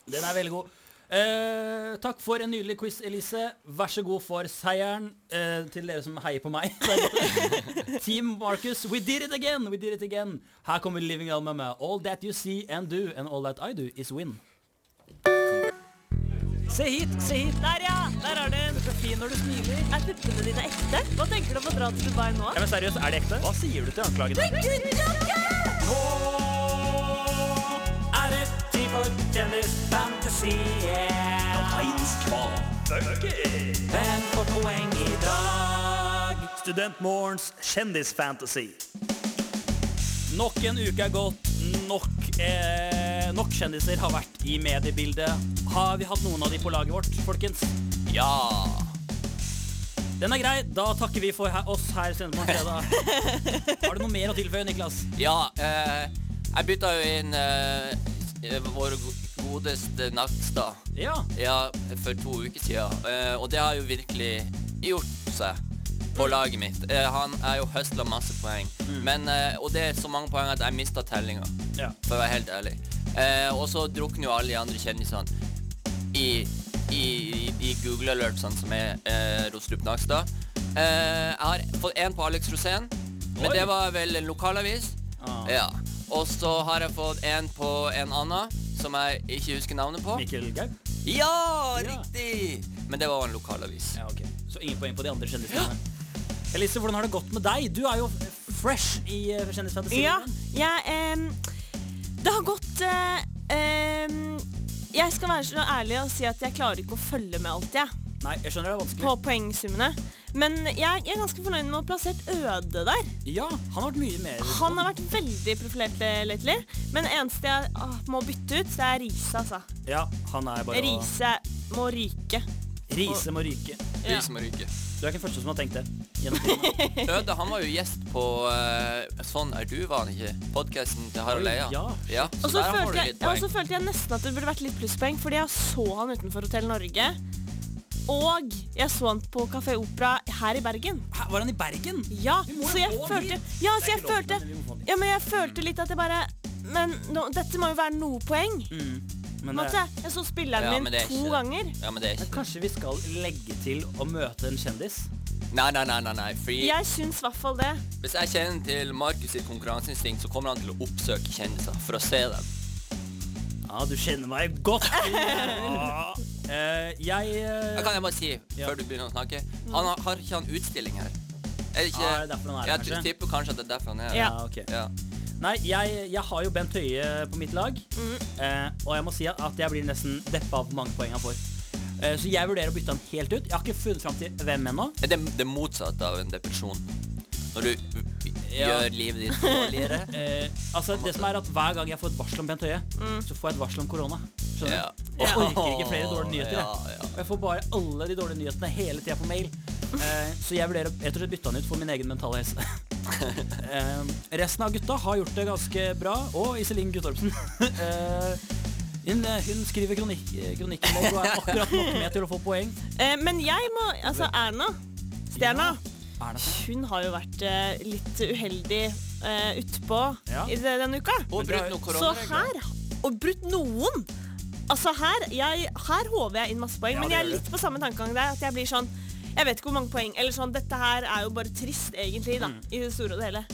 B: Den er veldig god. Eh, takk for en nydelig quiz, Elise. Vær så god for seieren eh, til dere som heier på meg. [LAUGHS] Team Marcus, we did it again! We did it again. Her kommer Living Albumet. All that you see and do, and all that I do, is win. Se hit, se hit.
E: Der, ja! Der har du den.
B: Så fin når du smiler.
E: Er puppene dine ekte? Hva tenker du om å dra til Dubai nå?
B: Ja, men seriøst, er det ekte? Hva sier du til anklagen?
C: er det tid for kjendisfantasien. Kapteinsk bøker. Hvem får poeng i dag?
I: Studentmorgens kjendisfantasy.
B: Nok en uke er gått. Nok, eh, nok kjendiser har vært i mediebildet. Har vi hatt noen av de på laget vårt, folkens?
F: ja.
B: Den er grei. Da takker vi for he oss her i Sendemann Fredag.
E: [LAUGHS]
B: Har du noe mer å tilføye, Niklas?
F: Ja. eh, jeg bytta jo inn eh, eh, vår go- godeste Nakstad
B: Ja.
F: ja, for to uker siden. Eh, og det har jo virkelig gjort seg på laget mitt. Eh, han er jo høsla masse poeng.
B: Mm.
F: Men, eh, og det er så mange poeng at jeg mista tellinga,
B: Ja.
F: for å være helt ærlig. Eh, og så drukner jo alle de andre kjendisene i, i, i, i Google Alertsene som er eh, Rostrup Nakstad. Eh, jeg har fått én på Alex Rosén, men
B: Oi.
F: det var vel en lokalavis.
B: Ah.
F: Ja. Og så har jeg fått én på en annen, som jeg ikke husker navnet på.
B: Mikkel Gaug?
F: Ja,
B: Ja.
F: riktig! Men det var en lokalavis.
B: Ja, ok. Så ingen poeng på de andre kjendisene. Elise, hvordan har det gått med deg? Du er jo f- fresh i eh, kjendisfantasien.
E: Ja, jeg em, Det har gått eh, em, Jeg skal være så ærlig og si at jeg klarer ikke å følge med alt, jeg.
B: Nei, jeg skjønner det er vanskelig.
E: På poengsummene. Men jeg, jeg er ganske fornøyd med å ha plassert Øde der.
B: Ja, han har vært mye mer
E: Han har vært veldig profilert eh, lately. Men det eneste jeg ah, må bytte ut, det er Riise, altså.
B: Ja, han er bare å
E: Riise må ryke.
B: Rise må ryke.
F: De som ryker.
B: Du er ikke den første som har tenkt det. Gjennom
E: [LAUGHS]
B: tiden.
F: Øde han var jo gjest på eh, Sånn er du, var han ikke? Podkasten til Harald
B: Oi,
F: Eia.
B: ja.
F: så
E: Og så
F: der har
E: følte,
F: du
E: jeg-
F: litt
E: og så
F: poeng.
E: følte jeg nesten at det burde vært litt plusspoeng, fordi jeg så han utenfor Hotell Norge. Og jeg så han på Kafé Opera her i Bergen.
B: Hæ, Var han i Bergen?
E: Ja,
B: Vi må
E: så
B: jo
E: jeg
B: gå
E: følte
B: dit.
E: Ja,
B: Det er
E: så jeg
B: ikke lov,
E: følte
B: men vi må få den.
E: Ja, men jeg følte litt at jeg bare Men nå, dette må jo være noe poeng.
B: Men,
E: Matte,
B: eh,
E: jeg så spilleren
F: Mm. Ja,
E: min
F: men det er
E: to
F: ikke-
E: ganger.
F: Ja, men det er ikke
B: kanskje vi skal legge til å møte en kjendis?
F: Nei, nei, nei, nei, nei. Fordi
E: Jeg syns i hvert fall det.
F: hvis jeg kjenner til Markus sitt konkurranseinstinkt, så kommer han til å oppsøke kjendiser for å se dem.
B: Ja, du kjenner meg
F: [LAUGHS]
B: godt. Ja. Eh, jeg eh,
F: Da kan jeg bare si, før du begynner å snakke Han har, har ikke han utstilling her? Er det ikke
B: Ja, det er derfor han er her,
F: Jeg
B: kanskje?
F: tipper kanskje at det er derfor han er her.
B: ja, ok.
F: Ja.
B: Nei, jeg, jeg har jo Bent Høie på mitt lag.
F: Mm.
B: Eh, og jeg må si at jeg blir nesten deppa av hvor mange poeng han får. Eh, så jeg vurderer å bytte han helt ut. Jeg har ikke funnet fram til hvem ennå.
F: Er det det motsatte av en depresjon? Når du gjør livet ditt
B: [LAUGHS]
F: dårligere?
B: Eh, altså, det som er at Hver gang jeg får et varsel om Bent Høie, så får jeg et varsel om korona. Skjønner
F: Mm. Ja.
B: du? Jeg orker ikke flere dårlige nyheter. jeg.
F: Ja, ja.
B: Og jeg får bare alle de dårlige nyhetene hele tida på mail. Eh, så jeg vurderer å rett og slett bytte han ut for min egen mentale helse. [LAUGHS] Eh, resten av gutta har gjort det ganske bra, og Iselin Guttormsen. [LAUGHS] Eh, hun, eh, hun skriver kronikk, kronikkinnlegg og er akkurat nok med til å få poeng.
E: Eh, men jeg må Altså, Erna. Stjerna.
B: Er det sånn?
E: Hun har jo vært eh, litt uheldig eh, utpå
B: Ja.
E: i det, denne uka.
F: Og brutt noen
E: Så
F: koronaregler.
E: her Og brutt noen! Altså her, jeg, her håver jeg inn masse poeng,
B: Ja,
E: men
B: det
E: jeg er
B: gjør du.
E: litt på samme tankegang der. At jeg blir sånn Jeg vet ikke hvor mange poeng. Eller sånn Dette her er jo bare trist, egentlig, da. I det store og det hele.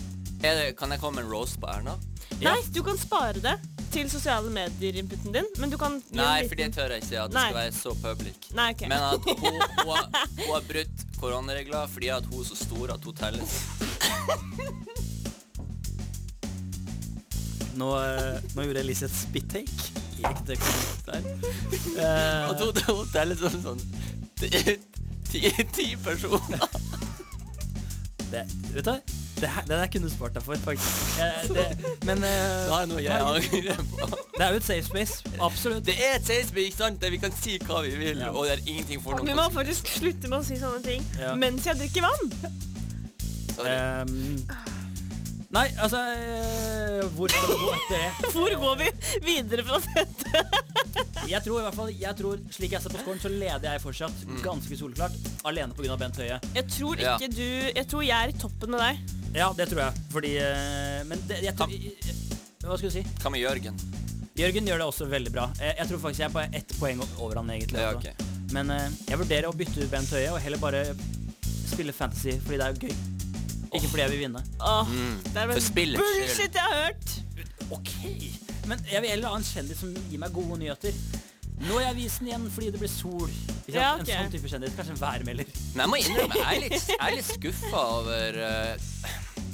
F: Er det, kan jeg komme med en roast på Erna?
B: Ja.
E: Nei, du kan spare det til sosiale medier-inputen din, men du kan gi en
F: Nei,
E: liten-
F: for det tør jeg ikke. At det
E: Nei.
F: skal være så public.
E: Nei, ok.
F: Men at hun, hun,
E: [LAUGHS]
F: har, hun har brutt koronaregler fordi at hun er så stor at hun teller.
B: Nå, eh, nå gjorde Elise et spit-take. i ekte konflikt der. Eh,
F: At hun, hun teller som sånn ti, ti, ti personer.
B: Det, vet du, det, her, det der kunne du spart deg for, faktisk. Eh, det, men eh,
F: Det er noe jeg [LAUGHS] angrer på.
B: det er jo et safe space. Absolutt.
F: Det er et seismikk, sant? Der vi kan si hva vi vil,
B: Ja.
F: og det er ingenting for
E: Vi
F: noen
E: må faktisk slutte med å si sånne ting
B: Ja.
E: mens jeg drikker vann.
F: konsekvenser.
B: Ehm, nei, altså eh, Hvor skal vi gå etter det?
E: Hvor går vi videre fra dette?
B: Jeg tror i hvert fall, jeg tror, slik jeg ser på scoren, så leder jeg fortsatt
F: Mm.
B: ganske soleklart. Alene pga. Bent Høie.
E: Jeg tror
F: Ja.
E: ikke du Jeg tror jeg er i toppen med deg.
B: Ja, det tror jeg. Fordi eh, Men det, jeg tror Hva skal du si?
F: Hva med Jørgen?
B: Jørgen gjør det også veldig bra. Eh, Jeg tror faktisk jeg er på ett poeng over han, egentlig.
F: Ja,
B: altså.
F: ok.
B: Men eh, jeg vurderer å bytte ut Bent Høie og heller bare spille fantasy fordi det er jo gøy. Ikke fordi jeg vil vinne.
E: Åh, Mm. det er
F: For
E: bare
F: spillets skyld.
E: bullshit jeg har hørt.
B: Ok, men jeg vil heller ha en kjendis som gir meg gode nyheter. Nå er avisen igjen fordi det ble sol. Ikke sant?
E: Ja, ok.
B: En sånn type kjendis. Kanskje en værmelder.
F: Men jeg må innrømme, jeg er litt, jeg er litt skuffa over eh,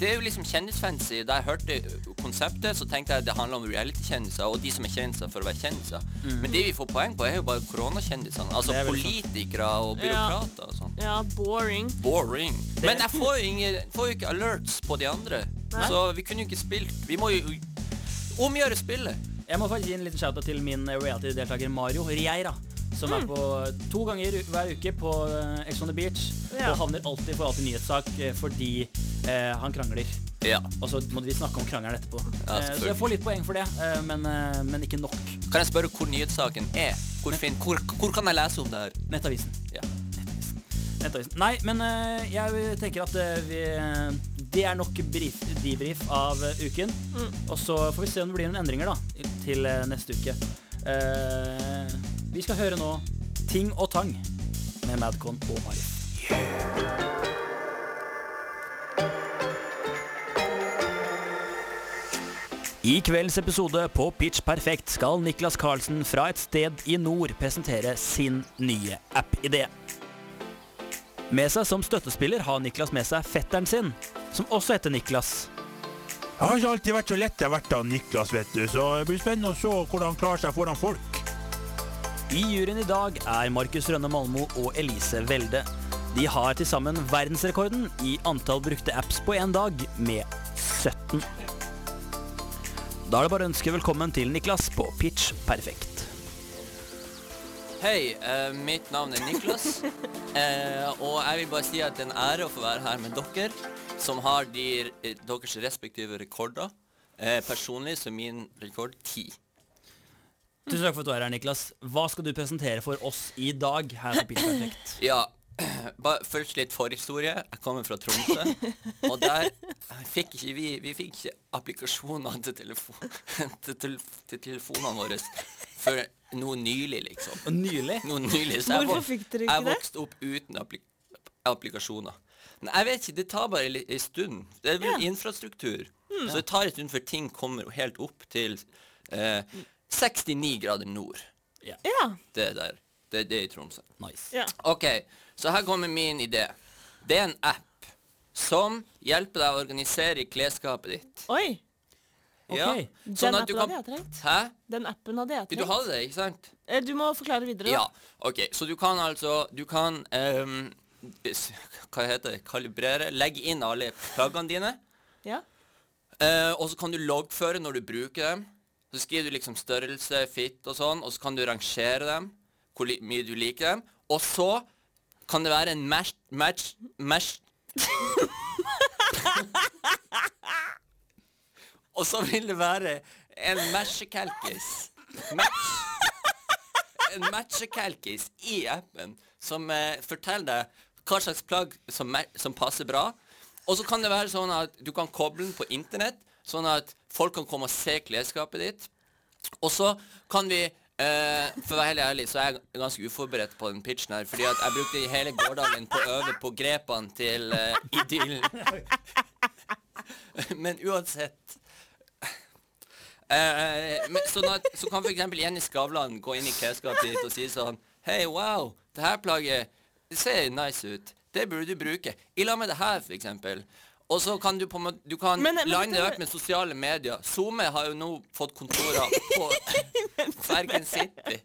F: Det er jo liksom kjendisfancy. Da jeg hørte konseptet, så tenkte jeg at det handler om reality-kjendiser, og de som er kjendiser for å være kjendiser. Men de vi får poeng på, er jo bare koronakjendisene. Altså
B: Mm. Det er vel sant.
F: politikere og byråkrater og sånn.
E: Ja, boring.
F: Boring. Men jeg får jo, ingen, får jo ikke alerts på de andre.
E: Nei.
F: Så vi kunne jo ikke spilt. Vi må jo omgjøre spillet.
B: Jeg må faktisk gi en liten shout-out til min reality-deltaker Mario Rieira. Som er
E: Mm.
B: på to ganger u- hver uke på eh, Ex on the Beach.
E: Ja.
B: Og havner alltid for alltid nyhetssak eh, fordi eh, han krangler.
F: Ja.
B: Og så må vi snakke om krangelen etterpå.
F: Ja,
B: Eh, så jeg får litt poeng for det, eh, men, eh, men ikke nok.
F: Kan jeg spørre hvor nyhetssaken er? Hvor, fin, hvor, hvor kan jeg lese om det her? [LAUGHS]
B: Nettavisen.
F: Ja.
B: Nettavisen. Nei, men eh, jeg tenker at eh, vi, eh, det er nok brief, debrief av eh, uken. Og så får vi se om det blir noen endringer da, i- til eh, neste uke. Eh, vi skal høre nå Ting og Tang med Madcon og Arif. I kveldens episode på Pitch Perfekt skal Niklas Carlsen fra et sted i nord presentere sin nye app-idé. Med seg som støttespiller har Niklas med seg fetteren sin, som også heter Niklas.
J: Jeg har ikke alltid vært så lett jeg har vært av Niklas, vet du, så det blir spennende å se hvordan han klarer seg foran folk.
B: I juryen i dag er Markus Rønne Malmo og Elise Welde. De har til sammen verdensrekorden i antall brukte apps på én dag, med 17. Da er det bare å ønske velkommen til Niklas på Pitch Perfekt.
F: Hei, eh, mitt navn er Niklas.
B: [LAUGHS]
F: eh, og jeg vil bare si at det er en ære å få være her med dere, som har de, eh, deres respektive rekorder. Eh, personlig så er min rekord ti.
B: Tusen takk for at du er her, Niklas. Hva skal du presentere for oss i dag? Her på Pil
F: [LAUGHS]
B: Perfekt?
F: Ja, [CLEARS THROAT] bare først litt forhistorie. Jeg kommer fra Tromsø, og der fikk ikke vi Vi fikk ikke applikasjoner til, telefon, [LAUGHS] til, til, til telefonene våre før nå nylig, liksom.
B: Nylig?
F: Nå nylig. Så jeg,
E: Hvorfor
F: vok-
E: fikk dere ikke
F: jeg
E: det?
F: vokste opp uten appli applikasjoner. Men jeg vet ikke, det tar bare li- en stund. Det er vel infrastruktur. Mm, Så det tar en stund før ting kommer helt opp til eh, 69 grader nord.
E: Ja.
F: Det der. Det, det er i Tromsø.
B: Nice.
E: ja.
F: Ok, så her kommer min idé. Det er en app som hjelper deg å organisere klesskapet ditt.
E: Oi.
B: Ok.
F: Ja,
E: Den
F: sånn at du
E: appen
F: kan...
E: hadde jeg trengt.
F: Hæ?
E: Den appen hadde jeg
F: Vil du
E: trengt.
F: ha det, ikke sant?
E: Eh, Du må forklare videre.
F: Ja,
E: da.
F: ok. Så du kan altså Du kan ehm, s- Hva heter det? Kalibrere. Legge inn alle pluggene dine.
E: Ja.
F: Eh, og så kan du loggføre når du bruker dem. Så skriver du liksom størrelse, fit og sånn, og så kan du rangere dem, hvor li mye du liker dem. Og så kan det være en match Match Match [LAUGHS] Og så vil det være en matchekalkis. Match. En matchekalkis i appen som eh, forteller deg hva slags plagg som, ma- som passer bra. Og så kan det være sånn at du kan koble den på internett, sånn at folk kan komme og se klesskapet ditt. Og så kan vi eh, For å være helt ærlig, så er jeg ganske uforberedt på den pitchen her. Fordi at jeg brukte hele gårsdagen på å øve på grepene til eh, idyllen. [LAUGHS] Men uansett eh, men, sånn at, Så kan f.eks. Jenny Skavlan gå inn i klesskapet ditt og si sånn Hei, wow, det her plagget det ser nice ut. Det burde du bruke. I lag med det her, f.eks. Og så kan du på en måte Du kan
E: Men- eh, men
F: line det
E: dette-
F: opp med sosiale medier. SoMe har jo nå fått kontorer
E: [LAUGHS]
F: på Bergen City.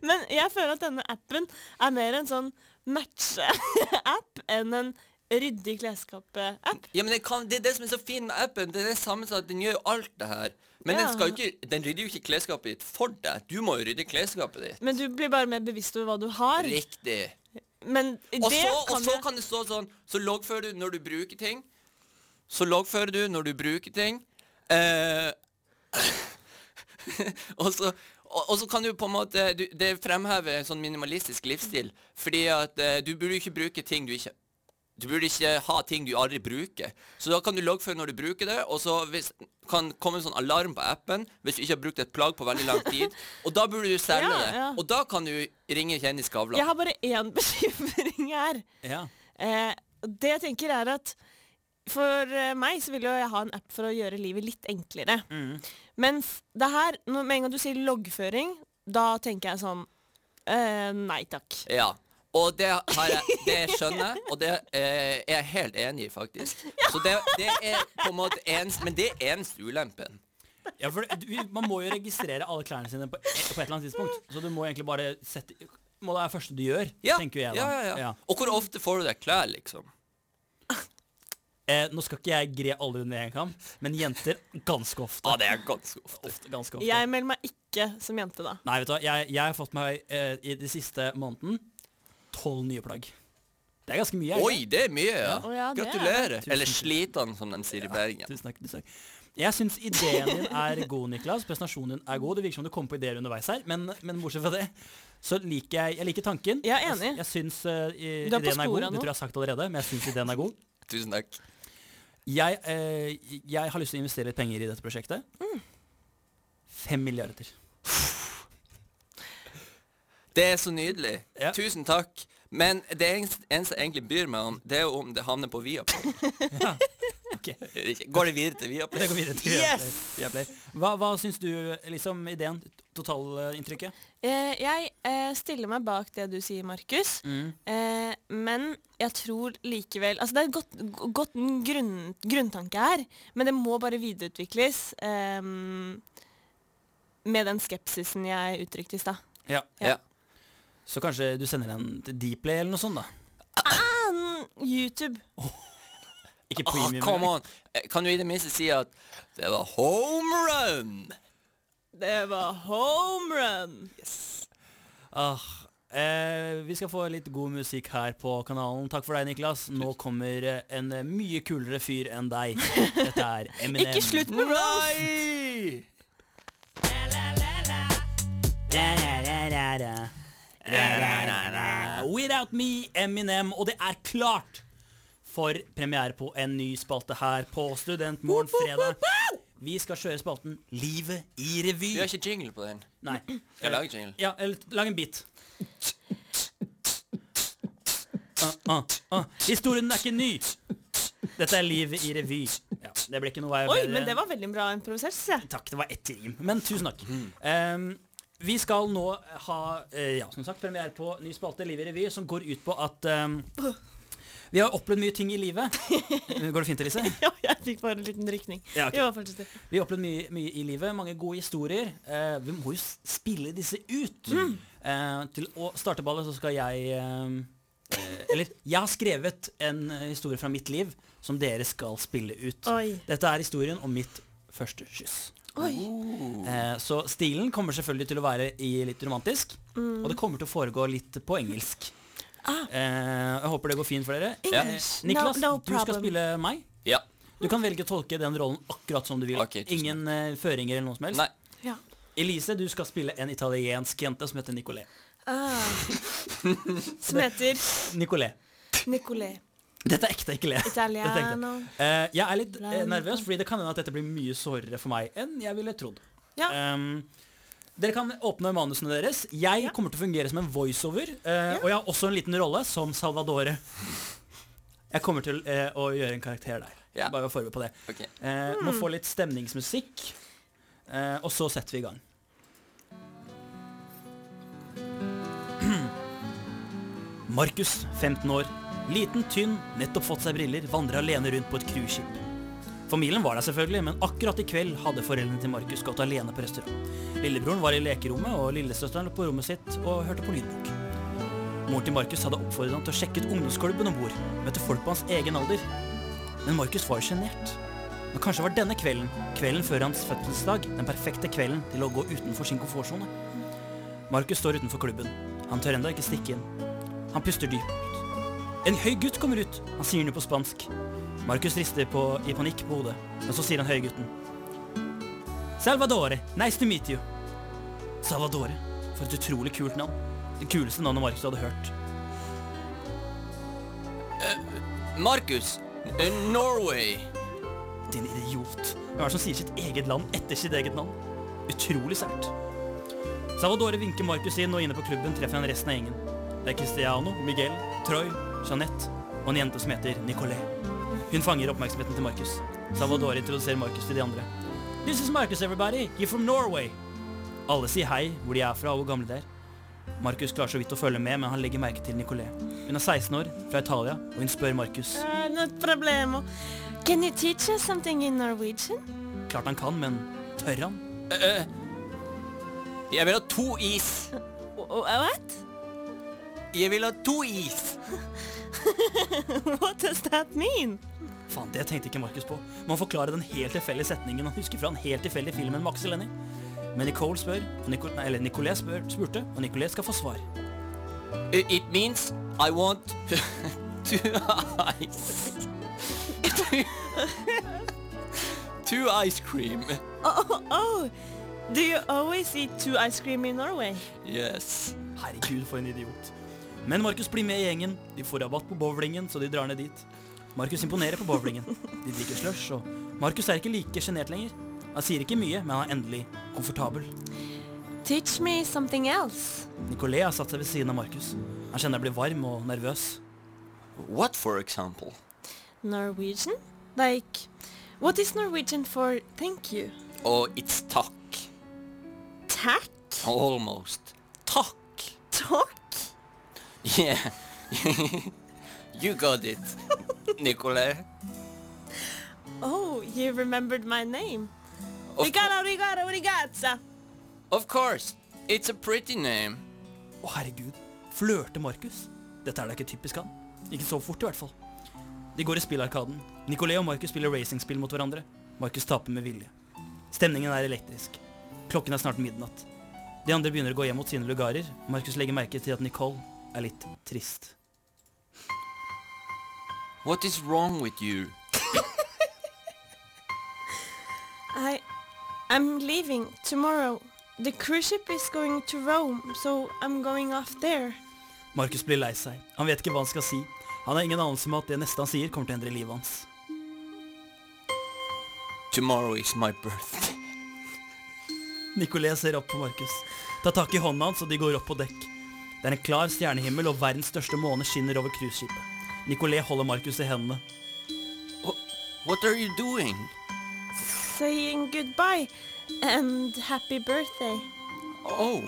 E: Men jeg føler at denne appen er mer en sånn matche-app enn en ryddig klesskape-app.
F: Ja, men det, kan, det er det som er så fint med appen. Det er det samme som at den gjør jo alt det her. Men den,
E: Ja.
F: skal jo ikke, den rydder jo ikke klesskapet ditt for deg. Du må jo rydde klesskapet ditt.
E: Men du blir bare mer bevisst over hva du har.
F: Riktig.
E: Men det
F: Og så, og
E: kan
F: så
E: jeg
F: kan det stå sånn Så loggfører du når du bruker ting. Så loggfører du når du bruker ting. Eh, [LAUGHS] og, så, og, og så kan du på en måte du, Det fremhever en sånn minimalistisk livsstil. Fordi at eh, du burde jo ikke bruke ting du ikke Du burde ikke ha ting du aldri bruker. Så da kan du loggføre når du bruker det, og så hvis, kan komme en sånn alarm på appen hvis du ikke har brukt et plagg på veldig lang tid. Og da burde du selge
E: Ja,
F: det.
E: ja.
F: Og da kan du ringe Kjenny Skavlan.
E: Jeg har bare én [LAUGHS] bekymring her.
B: Ja.
E: Eh, og det jeg tenker er at for eh, meg så vil jo jeg ha en app for å gjøre livet litt enklere. Men f- det her, når, med en gang du sier loggføring, da tenker jeg sånn eh, Nei takk.
F: Ja. Og det, har jeg, det skjønner jeg, og det eh, er jeg helt enig i, faktisk.
E: [LAUGHS]
F: Så det, det er på en måte ens, Men det er eneste ulempen.
B: Ja, for det- du, man må jo registrere alle klærne sine på, på et eller annet tidspunkt. Så du må egentlig bare sette Må det være det første du gjør,
F: Ja,
B: tenker jeg da.
F: ja, ja, ja. Og hvor ofte får du deg klær, liksom?
B: Eh, nå skal ikke jeg gre alle under én kam, men jenter ganske ofte.
F: Ja, det er ganske ofte.
B: ofte, ganske ofte.
E: Jeg melder meg ikke som jente, da.
B: Nei, vet du hva, jeg, jeg har fått meg eh, i de siste måneden tolv nye plagg. Det er ganske mye. er det
F: Oi, det er mye, ja.
E: Å, ja, det er det.
F: Gratulerer.
B: Tusen
F: Eller
B: takk.
F: slitan, som de sier i
B: ikke?
F: Bergen.
B: Tusen takk. tusen takk. Jeg syns ideen din er god, Niklas. Presentasjonen din er god. Det virker som du kom på ideer underveis her, men, men bortsett fra det, så liker jeg, jeg liker tanken.
E: Jeg er enig.
B: Jeg, jeg syns eh, i-
E: Du er på
B: ideen er god.
E: sporet
B: Det
E: nå.
B: tror jeg har sagt allerede, men jeg syns ideen er god.
F: Tusen takk.
B: Jeg, eh, jeg har lyst til å investere litt penger i dette prosjektet.
E: Mm.
B: Fem milliarder.
F: Det er så nydelig.
B: Ja.
F: Tusen takk. Men det eneste eneste jeg egentlig byr meg om, det er jo om det havner på
B: [LAUGHS]
F: Viaplay.
B: Ok.
F: Går det videre til Viaplay?
B: Det går videre til
E: Yes!
B: Viaplay. Viaplay. Hva, hva syns du, liksom, ideen? Totalinntrykket?
E: Eh, jeg eh, stiller meg bak det du sier, Markus. Eh, men jeg tror likevel Altså, det er et godt, g- godt grunn, grunntanke her, men det må bare videreutvikles eh, med den skepsisen jeg uttrykte i stad.
B: Ja.
F: Ja.
B: Så kanskje du sender en til Dplay eller noe sånt, da?
E: Mm, YouTube.
B: Ikke
F: Ah,
B: premium.
F: come on. Eh, Kan du i det minste si at det var home run?
E: Det var home run!
B: Ah, eh, vi skal få litt god musikk her på kanalen. Takk for deg, Niklas. Nå kommer eh, en eh, mye kulere
F: [LAUGHS]
B: fyr enn deg. Dette er Eminem.
E: Ikke slutt med roast!
F: Nei!
B: Ra-ra-ra-ra-ra. Ra-ra-ra-ra. Without me, Eminem. Og det er klart for premiere på en ny spalte her på Studentmorgen fredag. Vi skal kjøre spalten Livet i revy.
F: Vi har ikke jingle på den.
B: Nei.
F: Jeg lager jingle.
B: Ja, eller lag en bit. Ah, ah, ah. Historien er ikke ny. Dette er livet i revy. Ja, det ble ikke noe vei
E: Oi,
B: bedre.
E: men det var veldig bra improvisert, synes jeg. [LAUGHS]
B: Takk, det var ett rim. Men tusen takk. Ehm, vi skal nå ha eh, ja, som sagt, premiere på ny spalte Livet i revy, som går ut på at ehm, vi har opplevd mye ting i [LAUGHS] livet. Går det fint, Elise?
E: Ja, jeg fikk bare en liten rykning.
B: Ja, ok.
E: Jo, fortsett.
B: Vi har opplevd mye, mye i livet, mange gode historier. Eh, vi må jo s- spille disse ut. Eh, til å starte ballet så skal jeg eh, eh, Eller jeg har skrevet en eh, historie fra mitt liv som dere skal spille ut.
E: Oi.
B: Dette er historien om mitt første kyss.
E: Oi.
B: Eh, så stilen kommer selvfølgelig til å være i litt romantisk. Og det kommer til å foregå litt på engelsk. Eh, jeg håper det går fint for dere.
F: Ja.
B: Niklas,
E: Ah. No- no
B: du skal
E: problem.
B: spille meg.
F: ja.
B: Du kan velge å tolke den rollen akkurat som du vil.
F: Ok, tusen
B: Ingen eh, føringer eller noe som helst.
F: Nei.
E: Ja.
B: Elise, du skal spille en italiensk jente som heter Nicolé. [LAUGHS]
E: Ah. Som heter
B: Nicolé.
E: Nicolé.
B: Dette er ekte Nicolé. Dette er ekte.
E: Italiano.
B: Eh, jeg er litt eh, nervøs, fordi det kan hende at dette blir mye sårere for meg enn jeg ville trodd.
E: Ja.
B: Ehm, dere kan åpne manusene deres. Jeg
E: Ja.
B: kommer til å fungere som en voiceover, eh, og jeg har også en liten rolle som Salvadore. Jeg kommer til eh, å gjøre en karakter der.
F: Ja.
B: Bare vær forberedt på det.
F: Ok.
B: Eh, Må få litt stemningsmusikk, eh, og så setter vi i gang. [CLEARS THROAT] Markus, 15 år, liten, tynn, nettopp fått seg briller, vandrer alene rundt på et cruiseskip. Familien var der selvfølgelig, men akkurat i kveld hadde foreldrene til Markus gått alene på restaurant. Lillebroren var i lekerommet, og lillesøsteren lå på rommet sitt og hørte på lydbok. Moren til Markus hadde oppfordret ham til å sjekke ut ungdomsklubben om bord, møte folk på hans egen alder. Men Markus var jo sjenert. Men kanskje var denne kvelden, kvelden før hans fødselsdag, den perfekte kvelden til å gå utenfor sin komfortsone. Markus står utenfor klubben. Han tør ennå ikke stikke inn. Han puster dypt. En høy gutt kommer ut. Han sier noe på spansk. Markus rister på, i panikk på hodet, men så sier han høygutten. Salvadore, nice to meet you. Salvadore, for et utrolig kult navn. Det kuleste navnet Markus hadde hørt.
F: Markus. N- Norway.
B: Din idiot. Hvem er det som sier sitt eget land etter sitt eget navn? Utrolig sært. Salvadore vinker Markus inn, og inne på klubben treffer han resten av gjengen. Det er Cristiano, Miguel, Troy, Jeanette og en jente som heter Nicolé. Hun fanger oppmerksomheten til Markus. Salvadore introduserer Markus til de andre. This is Marcus, everybody. You're from Norway. Alle sier hei, hvor de er fra og hvor gamle de er. Markus klarer så vidt å følge med, men han legger merke til Nicolé. Hun er 16 år, fra Italia, og hun spør Markus.
E: Ah, no problemo. Can you teach us something in Norwegian?
B: Klart han kan, men tør han?
F: Jeg vil ha to is.
E: Wh- What?
F: Jeg vil ha to is.
E: [LAUGHS] What does that mean?
B: Faen, det tenkte ikke Markus på. Man forklarer den helt tilfeldige setningen han husker fra den helt tilfeldige filmen Max Lenny. Men Nicole spør, og Nicol nei, eller Nicolet spør, spurte, og Nicolet skal få svar.
F: I- It means I want [LAUGHS] two ice. [LAUGHS] two ice cream.
E: Oh, oh, oh. Do you always eat two ice cream in Norway?
F: Yes.
B: Herregud, for en idiot. Men Markus blir med i gjengen. De får rabatt på bowlingen, så de drar ned dit. Markus imponerer på bowlingen. De drikker slush, og Markus er ikke like sjenert lenger. Han sier ikke mye, men han er endelig komfortabel.
E: Teach me something else.
B: Nicolet har satt seg ved siden av Markus. Han kjenner han blir varm og nervøs.
F: What for example?
E: Norwegian? Like, what is Norwegian for thank you?
F: Oh, it's takk.
E: Tack?
F: Almost. Takk.
E: Talk?
F: Yeah. [LAUGHS] you got it, Nicolai.
E: Oh, you remembered my name.
F: Of,
E: Obrigada, obrigada, obrigada.
F: of course. It's a pretty name.
B: Å, herregud. Flørte Markus? Dette er da ikke typisk han. Ikke så fort, i hvert fall. De går i spillarkaden. Nicolay og Markus spiller racingspill mot hverandre. Markus taper med vilje. Stemningen er elektrisk. Klokken er snart midnatt. De andre begynner å gå hjem mot sine lugarer. Markus legger merke til at Nicole er litt trist.
F: What is wrong with you?
E: I, I'm leaving tomorrow. The cruise ship is going to Rome, so I'm going off there.
B: Markus blir lei seg. Han vet ikke hva han skal si. Han har ingen anelse om at det neste han sier, kommer til å endre livet hans.
F: Tomorrow is my birthday.
B: Nicolet ser opp på Markus. Tar tak i hånda hans, og de går opp på dekk. Det er en klar stjernehimmel, og verdens største måne skinner over cruiseskipet. Nicolet holder Markus i hendene.
F: What are you doing?
E: Saying goodbye and happy birthday.
F: Oh,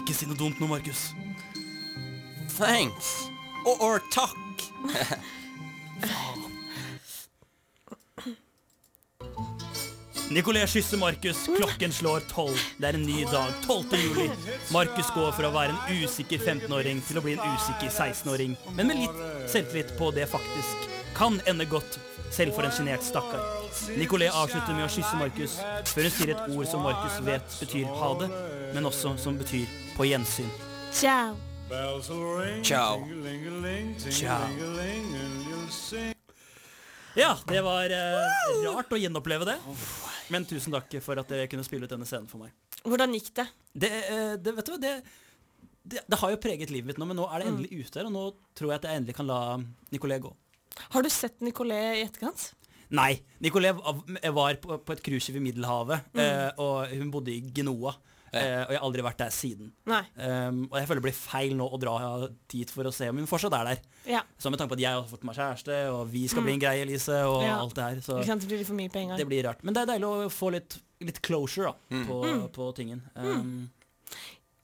B: Ikke si noe dumt nå, Markus.
F: thanks. Or, or takk.
B: Nicolet kysser Markus. Klokken slår tolv. Det er en ny dag. 12. juli. Markus går fra å være en usikker 15-åring til å bli en usikker 16-åring. Men med litt selvtillit på det faktisk kan ende godt, selv for en sjenert stakkar. Nicolet avslutter med å kysse Markus, før hun sier et ord som Markus vet betyr ha det, men også som betyr på gjensyn.
E: Ciao.
F: Ciao.
B: Ciao. Ja, det var eh, rart å gjenoppleve det. Men tusen takk for at dere kunne spille ut denne scenen for meg.
E: Hvordan gikk det?
B: Det, eh, det, vet du, hva, det, det, det har jo preget livet mitt nå, men nå er det endelig ute her, og nå tror jeg at jeg endelig kan la Nicolé gå.
E: Har du sett Nicolet i etterkant?
B: Nei, Nicolé var på, på et cruiseskip i Middelhavet, eh, og hun bodde i Genoa. eh, og jeg har aldri vært der siden.
E: Nei.
B: Um, og jeg føler det blir feil nå å dra dit for å se om hun fortsatt er der.
E: Ja.
B: Så med tanke på at jeg har fått meg kjæreste, og vi skal bli en greie, Elise, og
E: Mm. Ja.
B: alt det her. Så
E: Ikke sant, det blir litt for mye på en gang.
B: det blir rart. Men det er deilig å få litt, litt closure da, på,
E: Mm.
B: på tingen. Um,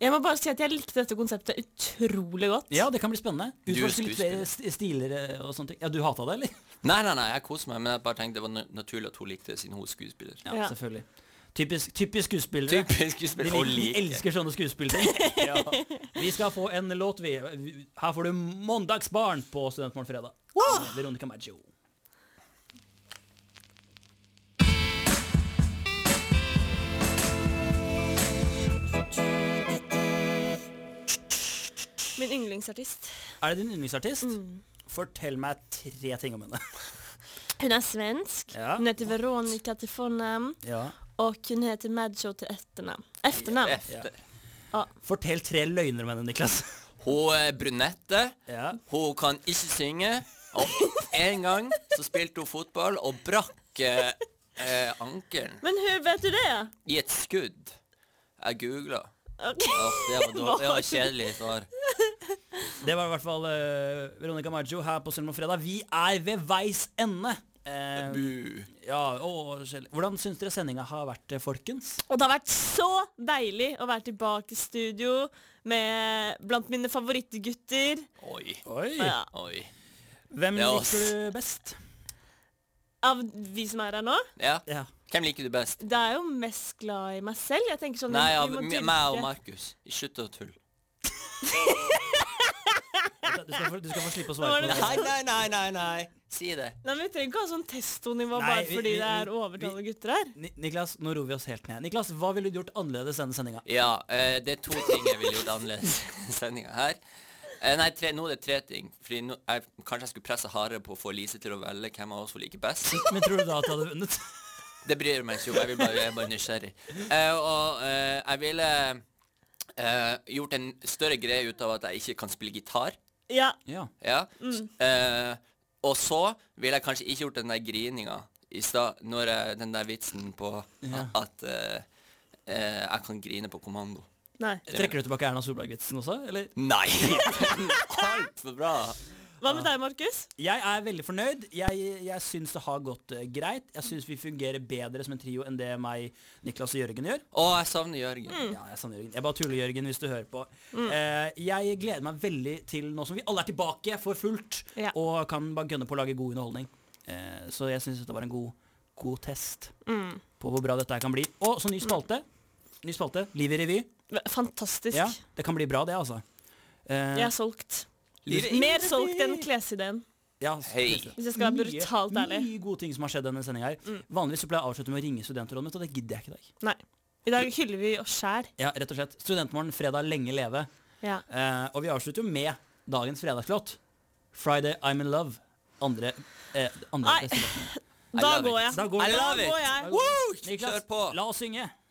E: Jeg må bare si at jeg likte dette konseptet utrolig godt.
B: Ja, det kan bli spennende.
F: Du er
B: Utforske litt flere st- stiler eh, og sånne ting. Ja, du hata det, eller?
F: Nei, nei, nei, jeg koser meg, men jeg bare tenkte det var na- naturlig at hun likte det siden hun er skuespiller.
B: Ja,
E: Ja.
B: selvfølgelig. Typisk, typisk skuespillere.
F: Typisk
B: De,
F: skuespiller.
B: liker,
F: Hun
B: de
F: liker
B: elsker sånne skuespillere.
E: [LAUGHS]
B: ja. Vi skal få en låt, vi. Her får du 'Mandagsbarn' på Studentmorgen fredag. Veronica Maggio.
E: Min yndlingsartist.
B: Er det din yndlingsartist?
E: Mm.
B: Fortell meg tre ting om henne. [LAUGHS]
E: Hun er svensk.
B: Ja.
E: Hun heter Veronica til fornavn,
B: Ja.
E: og hun heter Madshow til etternavn. Etternavn.
F: efter.
B: Fortell tre løgner om henne,
E: [LAUGHS]
B: Niklas.
F: Hun er brunette.
B: Ja.
F: Hun kan ikke synge. Og en gang så spilte hun fotball og brakk eh, eh, ankelen
E: Men hur vet du det?
F: i et skudd. Jeg googla.
E: Ok.
F: Det var, dårlig- det var et kjedelig svar.
B: Det var i hvert fall eh, Veronica Maggio her på Studentmorgen fredag. Vi er ved veis ende. Eh,
F: Bu.
B: ja, å, Kjell. Hvordan syns dere sendinga har vært, eh, folkens?
E: Og det har vært så deilig å være tilbake i studio med blant mine favorittgutter.
F: Oi.
B: Oi.
E: Ja,
F: Oi.
B: Hvem
F: Ja, ass.
B: liker du best?
E: av vi som er her nå.
F: Ja.
B: Ja.
F: Hvem liker du best?
E: Det er jo mest glad i meg selv. Jeg tenker sånn
F: Nei,
E: vi-
F: av
E: vi må
F: m-
E: dyrke-
F: meg og Markus. Slutt å tulle.
B: Du skal, få, du skal få slippe å
E: Var
B: svare på
E: det
B: det.
F: Nei, nei, nei, nei, nei. Si det.
E: Nei, men Vi trenger ikke ha sånn testonivå
B: Nei,
E: bare
B: vi-
E: fordi
B: vi-
E: det er
B: vi-
E: overtallige gutter her.
B: Ni Niklas, nå roer vi oss helt ned. Niklas, Hva ville du gjort annerledes denne sendinga?
F: Ja, eh, det er to ting jeg ville gjort annerledes i sendinga her. Eh, nei, tre, nå er det tre ting. Fordi nå, jeg, kanskje jeg skulle presse hardere på å få Lise til å velge hvem av oss hun liker best.
B: Men tror du da at jeg hadde vunnet?
F: Det bryr jeg meg ikke om. Jeg, vil bare, jeg er bare nysgjerrig. Eh, og eh, jeg ville eh, gjort en større greie ut av at jeg ikke kan spille gitar.
E: Ja,
B: Ja.
F: Ja. Eh, og så ville jeg kanskje ikke gjort den der grininga i stad, når jeg, den der vitsen på at eh, eh, jeg kan grine på kommando.
E: nei.
B: Trekker du tilbake Erna Solberg-vitsen også? Eller?
F: Nei! [LAUGHS] Altfor bra.
E: Hva med deg, Markus?
B: Jeg er veldig fornøyd. Jeg, jeg syns det har gått eh, greit. Jeg syns vi fungerer bedre som en trio enn det meg, Niklas og Jørgen gjør.
F: Å, jeg savner Jørgen.
E: Mm,
B: Ja, jeg savner Jørgen. Jeg bare tuller, Jørgen, hvis du hører på. Eh, jeg gleder meg veldig til nå som vi alle er tilbake for fullt,
E: Ja.
B: og kan bare gønne på å lage god underholdning. Eh, så jeg syns dette var en god, god test
E: Mm.
B: på hvor bra dette her kan bli. Og så ny spalte. Ny spalte. Liv i revy.
E: Fantastisk.
B: Ja, det kan bli bra, det, altså. Eh,
E: Jeg er solgt.
F: Livet-
E: Mer solgt enn klesideen,
B: ja,
F: Hei.
E: hvis jeg skal være brutalt
B: mye,
E: ærlig. Mm.
B: mye gode ting som har skjedd denne sendinga her. Vanligvis så pleier jeg å avslutte med å ringe studentrådet mitt, og det gidder jeg ikke i dag.
E: Nei. I dag hyller vi oss sjæl.
B: Ja, rett og slett. Studentmorgen, fredag, lenge leve.
E: Ja.
B: Eh, og vi avslutter jo med dagens fredagslåt. 'Friday I'm In Love'. Andre, eh, andre
E: Nei.
B: beste låten.
E: Da
F: love
E: går
F: it.
E: jeg.
B: Da går
F: I
B: vi.
F: love
E: Da
F: it.
E: går jeg.
F: Woo! Kjør
B: Niklas,
F: på.
B: la oss synge.